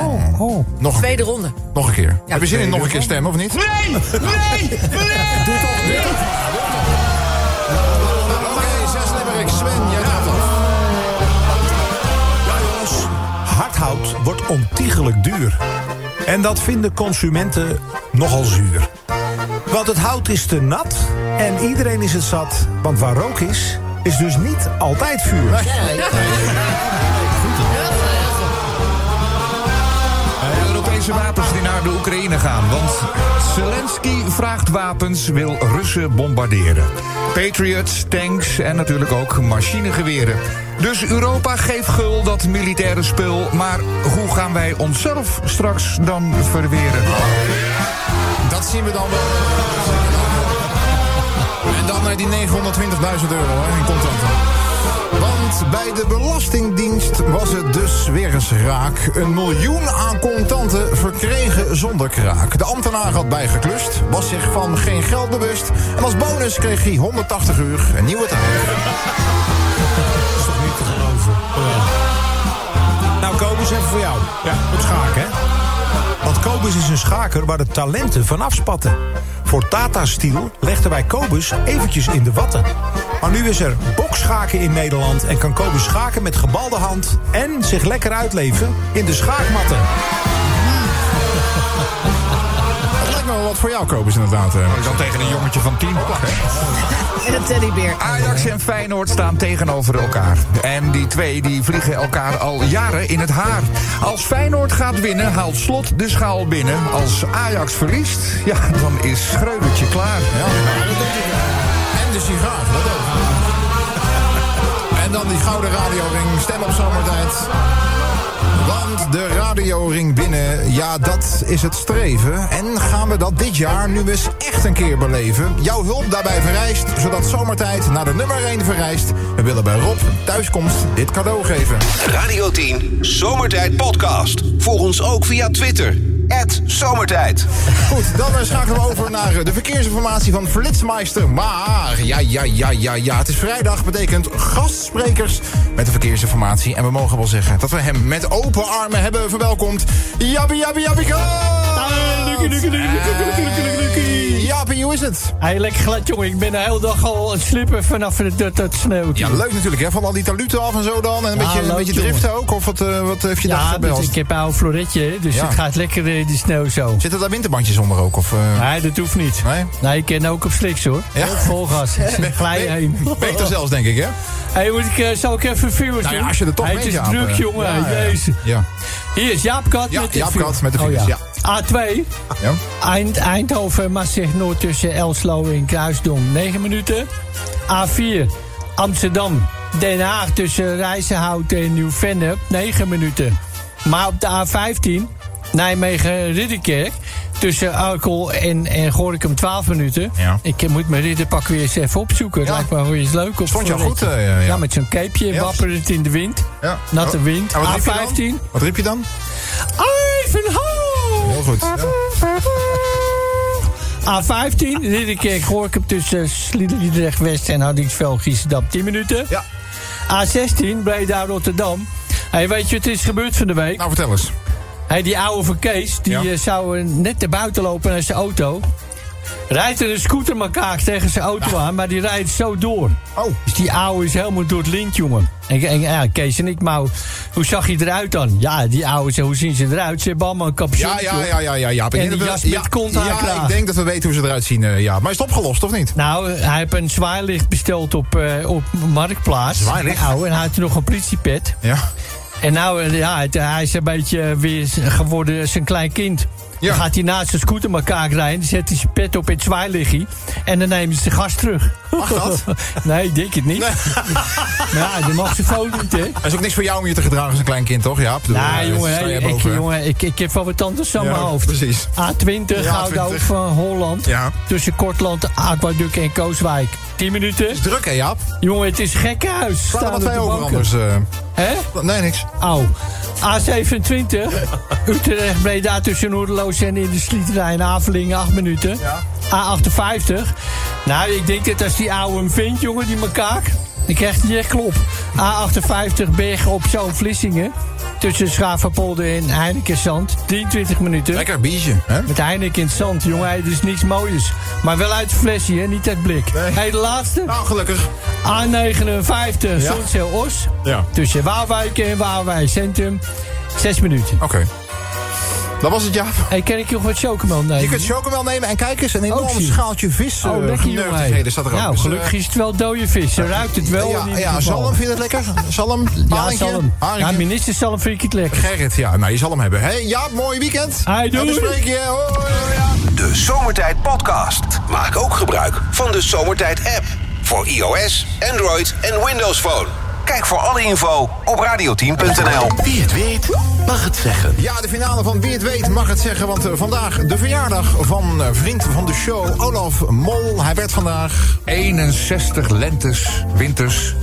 Nog een, Tweede ronde. nog een keer. Heb je zin in nog een keer stemmen of niet? Nee, nee, nee. Doe toch, doe toch. Oké, zes limericks. Sven, jij gaat toch? jongens, hardhout wordt ontiegelijk duur. En dat vinden consumenten nogal zuur. Want het hout is te nat en iedereen is het zat. Want waar rook is, is dus niet altijd vuur. De Europese wapens die naar de Oekraïne gaan. Want Zelensky vraagt wapens, wil Russen bombarderen. Patriots, tanks en natuurlijk ook machinegeweren. Dus Europa geeft gul dat militaire spul. Maar hoe gaan wij onszelf straks dan verweren? Dat zien we dan wel. En dan naar die 920.000 euro hè, in contanten. Want bij de Belastingdienst was het dus weer eens raak. Een miljoen aan contanten verkregen zonder kraak. De ambtenaar had bijgeklust, was zich van geen geld bewust. En als bonus kreeg hij 180 uur een nieuwe taak. Nou, Kobus, even voor jou. Ja. Het schaken, hè? Want Kobus is een schaker waar de talenten van afspatten. Voor Tata Steel legden wij Kobus eventjes in de watten. Maar nu is er bokschaken in Nederland en kan Kobus schaken met gebalde hand en zich lekker uitleven in de schaakmatten. Het lijkt me wel wat voor jou, Kobus, inderdaad. eh. Dan tegen een jongetje van 10 op. En een teddybeer. Ajax en Feyenoord staan tegenover elkaar. En die twee die vliegen elkaar al jaren in het haar. Als Feyenoord gaat winnen, haalt Slot de schaal binnen. Als Ajax verliest, ja, dan is Schreudertje klaar. En de sigaar, dat ook. En dan die gouden radioring. Stem op zomertijd. Want de radioring binnen, ja, dat is het streven. En gaan we dat dit jaar nu eens echt een keer beleven. Jouw hulp daarbij vereist, zodat zomertijd naar de nummer 1 vereist. We willen bij Rob een thuiskomst dit cadeau geven. Radio 10 Zomertijd Podcast. Volg ons ook via Twitter. Zomertijd. Goed, dan eh, schakelen we over naar eh, de verkeersinformatie van Flitsmeister. Maar, ja, ja, ja, ja, ja. Het is vrijdag, betekent gastsprekers met de verkeersinformatie. En we mogen wel zeggen dat we hem met open armen hebben verwelkomd. Jabbi, jabbi, jabbi, Eh, Jappie, hoe is het? Hij lekker glad, jongen. Ik ben de hele dag al aan het slippen vanaf het, dat, dat sneeuwt. Ja, leuk natuurlijk, hè? Van al die taluten af en zo dan. En een Ja, beetje, een leuk, beetje jongen. driften ook. Of wat, eh, wat heeft je Ja, dag dus gebeld? ik heb een oude floretje, dus Ja. het gaat lekker eh, die sneeuw zo. Zitten daar winterbandjes onder ook? Of, eh? Nee, dat hoeft niet. Nee? ik ken ook op sliks hoor. Ja? Ook vol gas. Ben- Glij ben- heen. Beter zelfs, denk ik, hè? Hey, moet ik, eh, zal ik even vuur Nou ja, als je er toch hey, bent, Het is Jaap, druk, eh. jongen. Ja, ja, ja. Jezus. Ja. Hier is Jaap Kat Ja, met de Jaap vuur. Oh, Kat met de vingers, A2. Ja. Eind, Eindhoven, Maastricht Noord tussen Elslo en Kruisdom. 9 minuten. A4. Amsterdam, Den Haag tussen Rijzenhout en Nieuw-Vennep. 9 minuten. Maar op de A15, Nijmegen-Ridderkerk. Tussen Arkel en, en Gorinchem 12 minuten. Ja. Ik eh, moet mijn ridderpak weer eens even opzoeken. Het lijkt me wel eens leuk. Op Stond je al voorrecht. goed, eh, ja, ja. met zo'n capeje Ja. wapperend in de wind. Ja. Oh. Natte wind. En wat riep je dan? A15. Wat riep je dan? Ivanhoe! Heel goed. ja. Nou, A15, Ridderkerk, Gorkum tussen Sliedrecht West en Hardingsveld, Giesendam, 10 minuten. Ja. A16, Breda, Rotterdam. Hey, weet je wat is gebeurd van de week? Nou, vertel eens. Hey, die oude van Kees, die eh, zou eh, net naar buiten lopen naar zijn auto. Rijdt er een scootermakaak tegen zijn auto aan, maar die rijdt zo door. Oh. Dus die oude is helemaal door het lint, jongen. En, en ja, Kees en ik, maar hoe- hoe zag hij eruit dan? Ja, die oude, zo, hoe zien ze eruit? Ze hebben allemaal een kapje. Ja, ja, ja, ja, ja, Jaap. Ik En die denk dat jas we- met ja, konthaarkraag. Ja, ik denk dat we weten hoe ze eruit zien, eh, Jaap. Maar is het opgelost, of niet? Nou, hij heeft een zwaailicht besteld op, eh, op Marktplaats. Zwaailicht? Nou, en hij had nog een politiepet. Ja. En nou, eh, ja, het- hij is een beetje eh, weer z- geworden zijn klein kind. Dan gaat hij naast zijn scooter elkaar rijden, zet hij zijn pet op in het zwaailichtje... en dan nemen ze de gas terug. Mag dat? nee, ik denk het niet. Maar ja, dat mag ze foto niet, hè? Er is ook niks voor jou om je te gedragen als een klein kind, toch, Jaap? eh, Nou, jongen, hè. hè, ik, jongen ik, ik heb wel wat anders aan Ja, mijn hoofd. precies. A20, Ja, Gouda 20. van Holland. Ja. Tussen Kortland, Aquaduct en Kooswijk. 10 minuten. Is druk, hè, Jaap? Jongen, het is gekkenhuis. Staan er Staan wat op de wij over banken. anders? eh? Hè? Nee, niks. Au. A27, Utrecht, Breda tussen Noordeloos en in de Slieterij en Avelingen, 8 minuten. A58. Nou, ik denk dat als die ouwe hem vindt, jongen, die mekaak, dan krijgt hij echt klop. A58, Berg op Zoom, Vlissingen. Tussen Schavenpolder en Heinekenzand, 23 minuten. Lekker biertje, hè? Met Heineken in het zand, jongen, hey, dat is niks moois. Maar wel uit het flesje, hè, niet uit blik. Hé, de laatste. Nou, gelukkig. A59, Zonzeel-Os. Ja. Tussen Waalwijk en Waalwijk Centrum. Zes minuten. Oké. Dat was het, Jaap. Hey, kan ik nog wat chocomel nemen? Je kunt chocomel nemen en kijk eens, een Ook enorm zien. schaaltje vis. eh, Oh, lekker jongen. hey. geneutigheden staat er ook. Nou, Dus, eh, gelukkig is het wel dode vis. Ze ruikt het wel. Ja, in ieder ja geval. zalm, vind je dat lekker? Zalm? Ja, Palingje? zalm. Ja, Palingje? minister zalm vind ik het lekker. Gerrit, ja, nou, je zal hem hebben. Hé, hey, Jaap, mooi weekend. Hey, En dan doei. spreek je. Hoi, hoi, hoi. De Zomertijd Podcast. Maak ook gebruik van de Zomertijd app. Voor iOS, Android en Windows Phone. Kijk voor alle info op radioteam.nl. Wie het weet, mag het zeggen. Ja, de finale van Wie het weet mag het zeggen. Want eh, vandaag de verjaardag van eh, vriend van de show, Olaf Mol. Hij werd vandaag... 61 lentes, winters,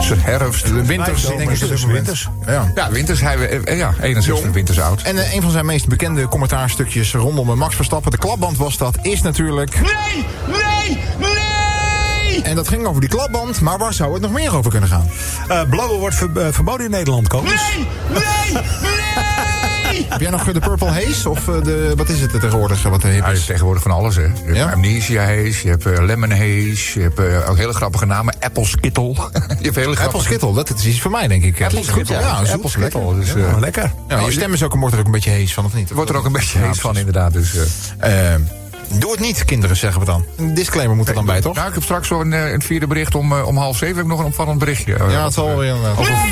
ze- herfst, winters. Ik denk denk ik. dat het winters. Ja. Ja, winters, hij, eh, ja, 61 winters oud. En eh, een van zijn meest bekende commentaarstukjes rondom eh, Max Verstappen, de klapband was dat, is natuurlijk... Nee, nee, nee! En dat ging over die klapband, maar waar zou het nog meer over kunnen gaan? Eh blauwe wordt ver- eh, verboden in Nederland, komen. Nee, nee, nee! Heb jij nog eh, de Purple Haze? Of eh, de, wat is het er tegenwoordig? eh, Wat er hip Ja, je is? hebt tegenwoordig van alles, hè. Je hebt Amnesia Haze, je hebt eh, Lemon Haze, je hebt eh, ook hele grappige namen. Apple Skittle. je hebt hele Apple Skittle, dat is iets voor mij, denk ik. Apple Dat is goed, Skittle, ja. ja. Zoet, Apple Skittle, lekker. dus, Ja, eh, maar lekker. Ja, je stem is ook, wordt er ook een beetje hees van, of niet? Wordt er ook een beetje Ja, hees van, precies. inderdaad. Dus, eh. Eh, doe het niet, kinderen, zeggen we dan. Een disclaimer moet er dan bij, toch? Nou, ik heb straks zo'n eh, een vierde bericht om, eh, om half zeven. Heb ik nog een opvallend berichtje. Eh, ja, het zal wel weer. eh,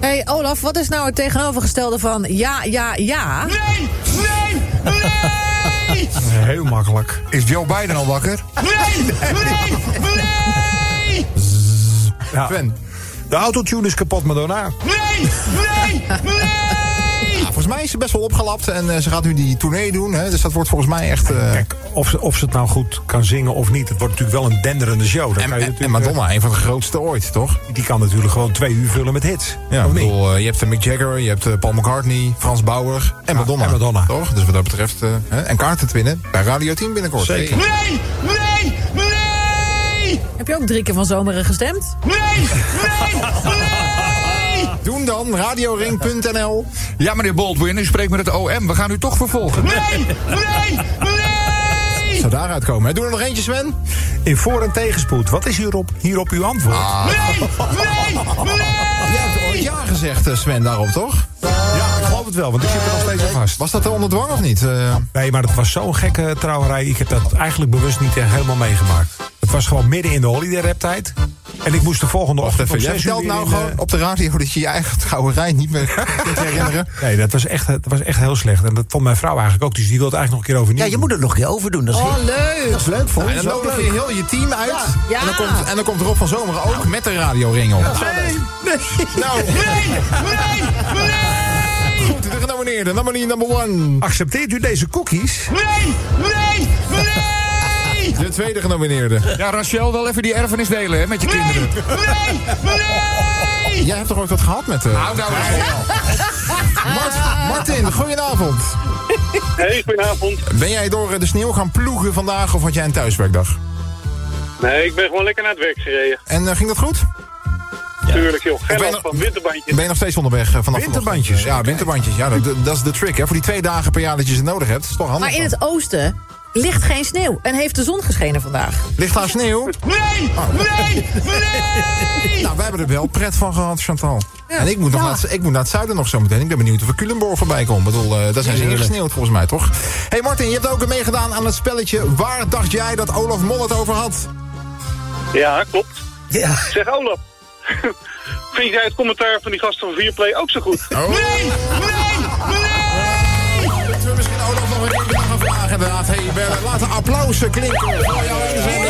hey, Olaf, wat is nou het tegenovergestelde van ja, ja, ja? Nee, nee, nee! Heel makkelijk. Is Joe Biden al wakker? Nee, nee, nee! Ja. De autotune is kapot, Madonna. Nee, nee, Ja, Nou, volgens mij is ze best wel opgelapt en eh, ze gaat nu die tournee doen. Hè, dus dat wordt volgens mij echt... eh, Kijk, of ze, of ze het nou goed kan zingen of niet. Het wordt natuurlijk wel een denderende show. Dat kan je en, en natuurlijk, eh, Madonna, een van de grootste ooit, toch? eh, Die kan natuurlijk gewoon twee uur vullen met hits. Ja, ik Of niet? bedoel, eh, je hebt eh, Mick Jagger, je hebt eh, Paul McCartney, Frans Bauer en Madonna. en Madonna. Toch? Dus wat dat betreft... eh, hè, en kaarten te winnen bij Radio 10 binnenkort. Zeker. Hey. Nee, nee, nee! Heb je ook drie keer van zomeren gestemd? Nee, nee, nee! Doen dan, radioring.nl. Ja, meneer Baldwin, u spreekt met het OM. We gaan u toch vervolgen. Nee, nee, nee! Zou daaruit komen. Hè? Doe er nog eentje, Sven. In voor- en tegenspoed. Wat is hierop, hierop uw antwoord? Ah. Nee, nee, Jij hebt ooit ja gezegd, eh, Sven, daarop, toch? Ja, ik geloof het wel, want ik zit er nog steeds aan vast. Was dat onder dwang of niet? Eh, Nee, maar het was zo'n gekke trouwerij. Ik heb dat eigenlijk bewust niet echt helemaal meegemaakt. Het was gewoon midden in de holiday rap tijd. En ik moest de volgende ochtend om Jij zes uur vertelt weer nou in eh, de- gewoon op de radio dat je je eigen trouwerij niet meer kunt herinneren. Nee, dat was, echt, dat was echt heel slecht. En dat vond mijn vrouw eigenlijk ook. Dus die wil het eigenlijk nog een keer overnieuw Ja, je doen. moet het nog een keer overdoen. Dat is, Oh, leuk! dat is leuk voor Nou, En ons. dan ook nodig leuk. je heel je team uit. Ja. En, dan komt, en dan komt Rob van Zomeren ook met de radioring op. nee! Nou, Nee, nee, nee! goed, de genomineerde. Nominee number one. Accepteert u deze cookies? Nee, nee, nee! De tweede genomineerde. Ja, Rachel, wel even die erfenis delen hè, met je kinderen. Nee, nee! Jij hebt toch ooit wat gehad met... eh, Hou nou eens op. Mart- Martin, goedenavond. Hey, goedenavond. Ben jij door eh, de sneeuw gaan ploegen vandaag of had jij een thuiswerkdag? Nee, ik ben gewoon lekker naar het werk gereden. En eh, ging dat goed? Tuurlijk, joh. Ik Geen ben last nog- van winterbandjes. Ben je nog steeds onderweg eh, vanaf Winterbandjes. vanochtend? Ja, winterbandjes. Ja, dat, dat is de trick. Hè. Voor die twee dagen per jaar dat je ze nodig hebt. is toch handig. Maar in dan. het oosten ligt geen sneeuw en heeft de zon geschenen vandaag. Ligt daar sneeuw? Nee, nee, nee! Nou, wij hebben er wel pret van gehad, Chantal. Ja. En ik moet, nog Ja. naar, het- ik moet naar het zuiden nog zo meteen. Ik ben benieuwd of er Culemborg voorbij komt. Ik bedoel, eh, daar zijn ze ingesneeuwd volgens mij, toch? hey Martin, je hebt ook meegedaan aan het spelletje... Waar dacht jij dat Olaf Mol het over had? Ja, klopt. Zeg, Olaf. Vind jij het commentaar van die gasten van Vierplay ook zo goed? Nee, nee, nee! Zullen we misschien Olaf nog een keer gaan vragen inderdaad? hey, Bellen, laat een applaus klinken voor jouw inzending.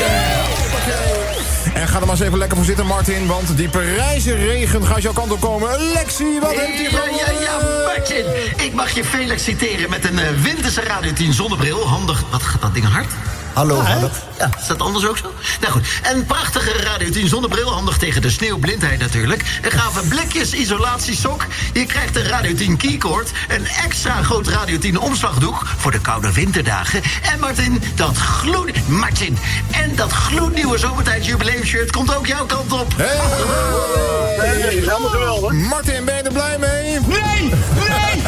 Hoppakee. En ga er maar eens even lekker voor zitten, Martin. Want die Parijzenregen gaat jouw kant op komen. Lexi, wat heeft hij Ja, ja, ja, Martin. Ik mag je Felix citeren met een eh, winterse Radio 10 zonnebril. Handig. Wat gaat dat ding hard? Hallo, Ja, hallo. ja, is dat anders ook zo? Nou goed, een prachtige Radio 10 zonnebril, handig tegen de sneeuwblindheid natuurlijk. Een gave blikjes isolatiesok. Je krijgt een Radio 10 keycord. Een extra groot Radio 10 omslagdoek voor de koude winterdagen. En Martin, dat gloed... Martin, en dat gloednieuwe zomertijd jubileumshirt komt ook jouw kant op. Nee, dat is allemaal geweldig. Martin, ben je er blij mee? Nee, nee, nee!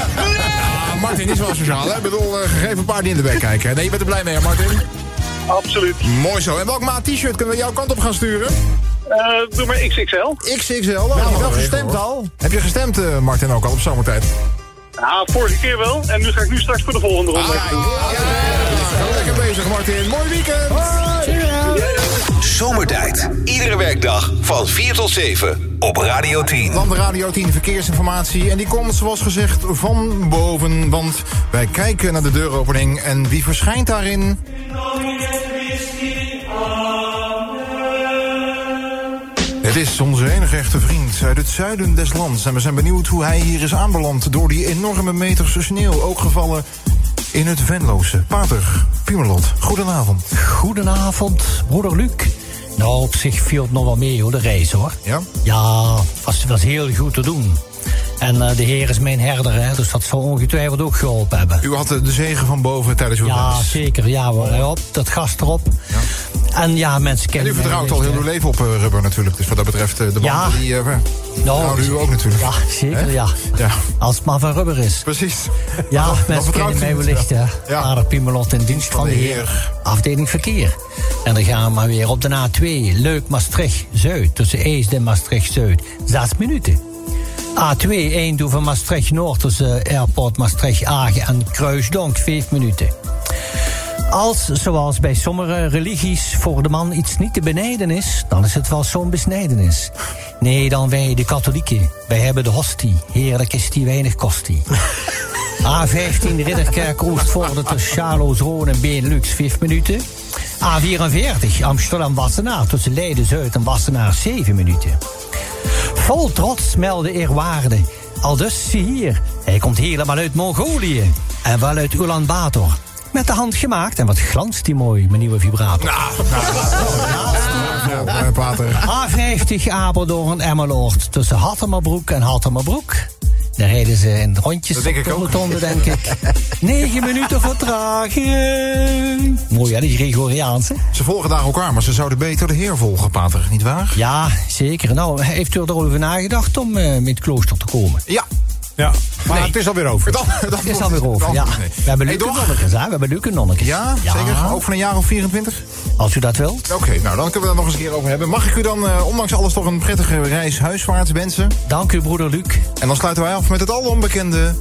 Ah, Martin is wel sociaal, hè? Ik bedoel, eh, gegeven een paar die in de weg kijken. hè? Nee, je bent er blij mee, hè, Martin? Absoluut. Mooi zo. En welk maat t-shirt kunnen we jouw kant op gaan sturen? Eh, doe maar XXL. XXL. Nou, heb je wel gestemd al? Heb je gestemd, eh, Martin, ook al op zomertijd? Ja, Nou, vorige keer wel. En nu ga ik nu straks voor de volgende ronde. Ah, Ja, lekker bezig, Martin. Mooi weekend. Zomertijd. Iedere werkdag van 4 tot 7 op Radio 10. Dan de Radio 10 Verkeersinformatie. En die komt, zoals gezegd, van boven. Want wij kijken naar de deuropening. En wie verschijnt daarin? Het is onze enige echte vriend uit het zuiden des lands. En we zijn benieuwd hoe hij hier is aanbeland door die enorme meters sneeuw. Ook gevallen in het Venloze. Pater, Piemerlot, goedenavond. Goedenavond, broeder Luc. Nou, op zich viel het nog wel mee, hoor, de reis, hoor. Ja? Ja, was, was heel goed te doen. En eh, de heer is mijn herder, hè, dus dat zal ongetwijfeld ook geholpen hebben. U had eh, de zegen van boven tijdens uw Ja, reis. zeker. Ja, hoor, op, dat gast erop. En ja, mensen En kennen u vertrouwt mij, al weet heel je. uw leven op eh, rubber natuurlijk. Dus wat dat betreft, eh, de banden Ja. die... eh, Nou, nu ook natuurlijk. dus- Ja, zeker, ja. Als het maar van rubber is. Precies. Ja, Dan mensen vertrouwt kennen u mij wellicht. het, ja. Ja. Aardig Piemelot in dienst van, de heer. Afdeling verkeer. En dan gaan we maar weer op de A2. Leuk Maastricht-Zuid. Tussen Eest en Maastricht-Zuid. Zes minuten. A2, 1 doe van Maastricht-Noord tussen eh, Airport Maastricht-Agen en Kruisdonk. Vijf minuten. Als, zoals bij sommige religies, voor de man iets niet te benijden is, dan is het wel zo'n besnijdenis. Nee, dan wij, de katholieken. Wij hebben de hostie. Heerlijk is die, weinig kost die. A15 Ridderkerk Oostvoorde tussen Charlosroon en Benelux, 5 minuten. A44 Amsterdam-Wassenaar tussen Leiden-Zuid en Wassenaar, 7 minuten. Vol trots meldde eerwaarde. Al dus zie hier, hij komt helemaal uit Mongolië. En wel uit Ulan Bator. Met de hand gemaakt en wat glanst die mooi, mijn nieuwe vibrator. Ja, eh, Pater. A50 Apeldoorn Emmeloord. Tussen Hattemerbroek en Hattemerbroek. Daar reden ze in rondjes Dat denk op ik ook. de rotonde, denk ik. 9 minuten vertraging. Mooi, hè, die Gregoriaanse. Ze volgen daar elkaar, maar ze zouden beter de Heer volgen, Pater, nietwaar? Ja, zeker. Nou, heeft u erover nagedacht om eh, met het klooster te komen? Ja. Ja, maar het is alweer over. Dan- dan Het is alweer over, ja. Nee. We hebben Hey, leuke doch. nonnetjes, hè? We hebben leuke nonnetjes. Ja, zeker? Oh. Ook van een jaar of 24? Als u dat wilt. Oké, nou dan kunnen we daar nog eens een keer over hebben. Mag ik u dan, eh, ondanks alles, toch een prettige reis huiswaarts wensen? Dank u, broeder Luc. En dan sluiten wij af met het al onbekende.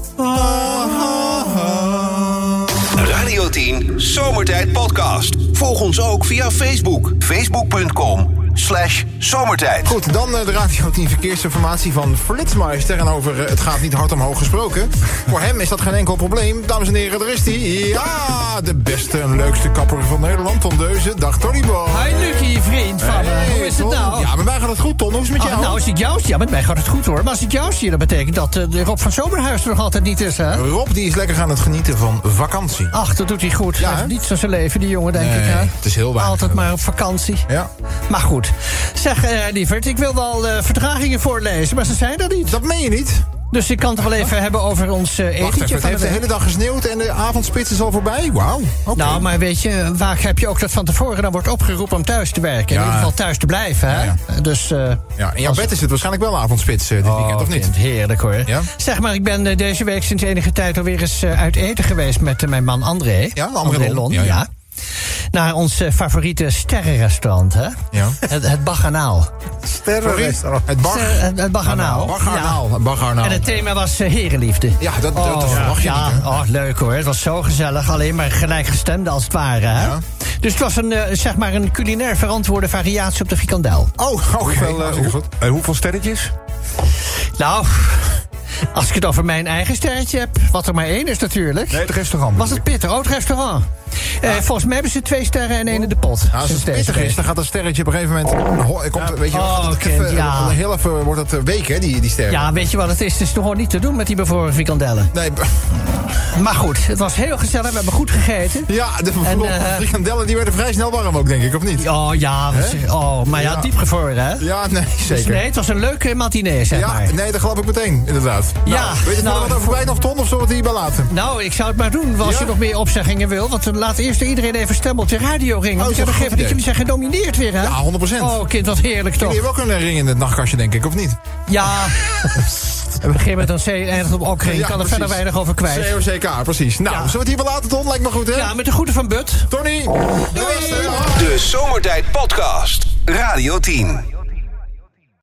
Radio 10 Zomertijd Podcast. Volg ons ook via Facebook. Facebook.com slash zomertijd. Goed, dan eh, de Radio 10 verkeersinformatie van Flitsmeister. En over eh, het gaat niet hard omhoog gesproken. Voor hem is dat geen enkel probleem. Dames en heren, daar is hij. Ja, de beste en leukste kapper van Nederland, Tom Deuze. Dag Tony Bo. Hi Lucky, vriend van me. Hey, Hoe is het Tom. nou? Ja, maar wij gaan het goed, Ton. Hoe is het met Ah, jou? nou, als ik jou zie, ja, met mij gaat het goed hoor. Maar als ik jou zie, dat betekent dat eh, de Rob van Zomerhuis er nog altijd niet is, hè? Rob die is lekker aan het genieten van vakantie. Ach, dat doet hij goed. Hij heeft niets van zijn leven, die jongen, denk Nee, ik. Hè? het is heel weinig. Altijd maar op vakantie. Ja. Maar goed. Zeg, eh lieverd, ik wil wel eh, vertragingen voorlezen, maar ze zijn er niet. Dat meen je niet? Dus ik kan het wel even hebben over ons eh Wacht etentje even, van het de heeft de week. hele dag gesneeuwd en de avondspits is al voorbij. Wauw. Oké. Nou, maar weet je, vaak heb je ook dat van tevoren dan wordt opgeroepen om thuis te werken. Ja. In ieder geval thuis te blijven, hè? Dus. eh, Ja, in jouw als- bed is het waarschijnlijk wel avondspits eh, dit weekend, of Oh, niet? kind, heerlijk hoor. Ja? Zeg maar, ik ben eh, deze week sinds enige tijd alweer eens eh, uit eten geweest met eh, mijn man André. Ja, André Lon. Ja, Ja, ja. Naar ons eh, favoriete sterrenrestaurant, hè? Ja. Het, het Baganaal. Sterrenrestaurant. Het Bach. Nou, Ster- het, het Baganaal. Bagarnaal. nou. Ja. Bagarnaal. En het thema was eh, herenliefde. Ja, dat, dat, dat verwacht je ja, niet. oh, leuk hoor. Het was zo gezellig. Alleen maar gelijkgestemde als het ware. Hè? Dus het was een, eh, zeg maar een culinair verantwoorde variatie op de frikandel. hè? Oh, oké. hartstikke goed. Eh, hoeveel sterretjes? Nou, als ik het over mijn eigen sterretje heb, wat er maar één is natuurlijk. Nee, het restaurant. Was het pittig? Oh, het restaurant. Eh, Ah. volgens mij hebben ze twee sterren en één in de pot. Nou, als het Sinds deze pittig is, week. dan gaat dat sterretje op een gegeven moment... ho- Komt, Weet je, wel, Oh, gaat het kind, even- ja. Heel even wordt het eh, week, hè, die, die sterren. Ja, weet je wat het is? Het is toch gewoon niet te doen met die bevroren frikandellen. Nee, b- Maar goed, het was heel gezellig. We hebben goed gegeten. ja, de En, eh, frikandellen die werden vrij snel warm ook, denk ik, of niet? Oh ja, we z- oh, maar ja, Ja. diepgevroren hè? Ja, nee, Dus nee, zeker. het was een leuke matinee, zeg Ja, maar. nee, dat geloof ik meteen, inderdaad. Nou, Ja, Weet je nou, nou, wat over wijn of ton, of zullen we het hierbij laten? Nou, ik zou het maar doen als Ja? je nog meer opzeggingen wil. Want dan laat eerst iedereen even stemmen op de radio ringen. Oh, dat Want is ik heb een goed begrepen dat idee. jullie zijn gedomineerd weer, hè? Ja, 100%. Oh, kind, wat heerlijk toch? Jullie hebben ook een ring in het nachtkastje, denk ik, of niet? Ja. We beginnen met een C en eindigt op Okring. Ja, Ik kan er precies. verder weinig over kwijt. COCK, precies. Nou, zullen we het hierbij laten, Ton? Lijkt me goed, hè? Ja, met de goede van But. Tony! De Zomertijd Podcast. Radio 10.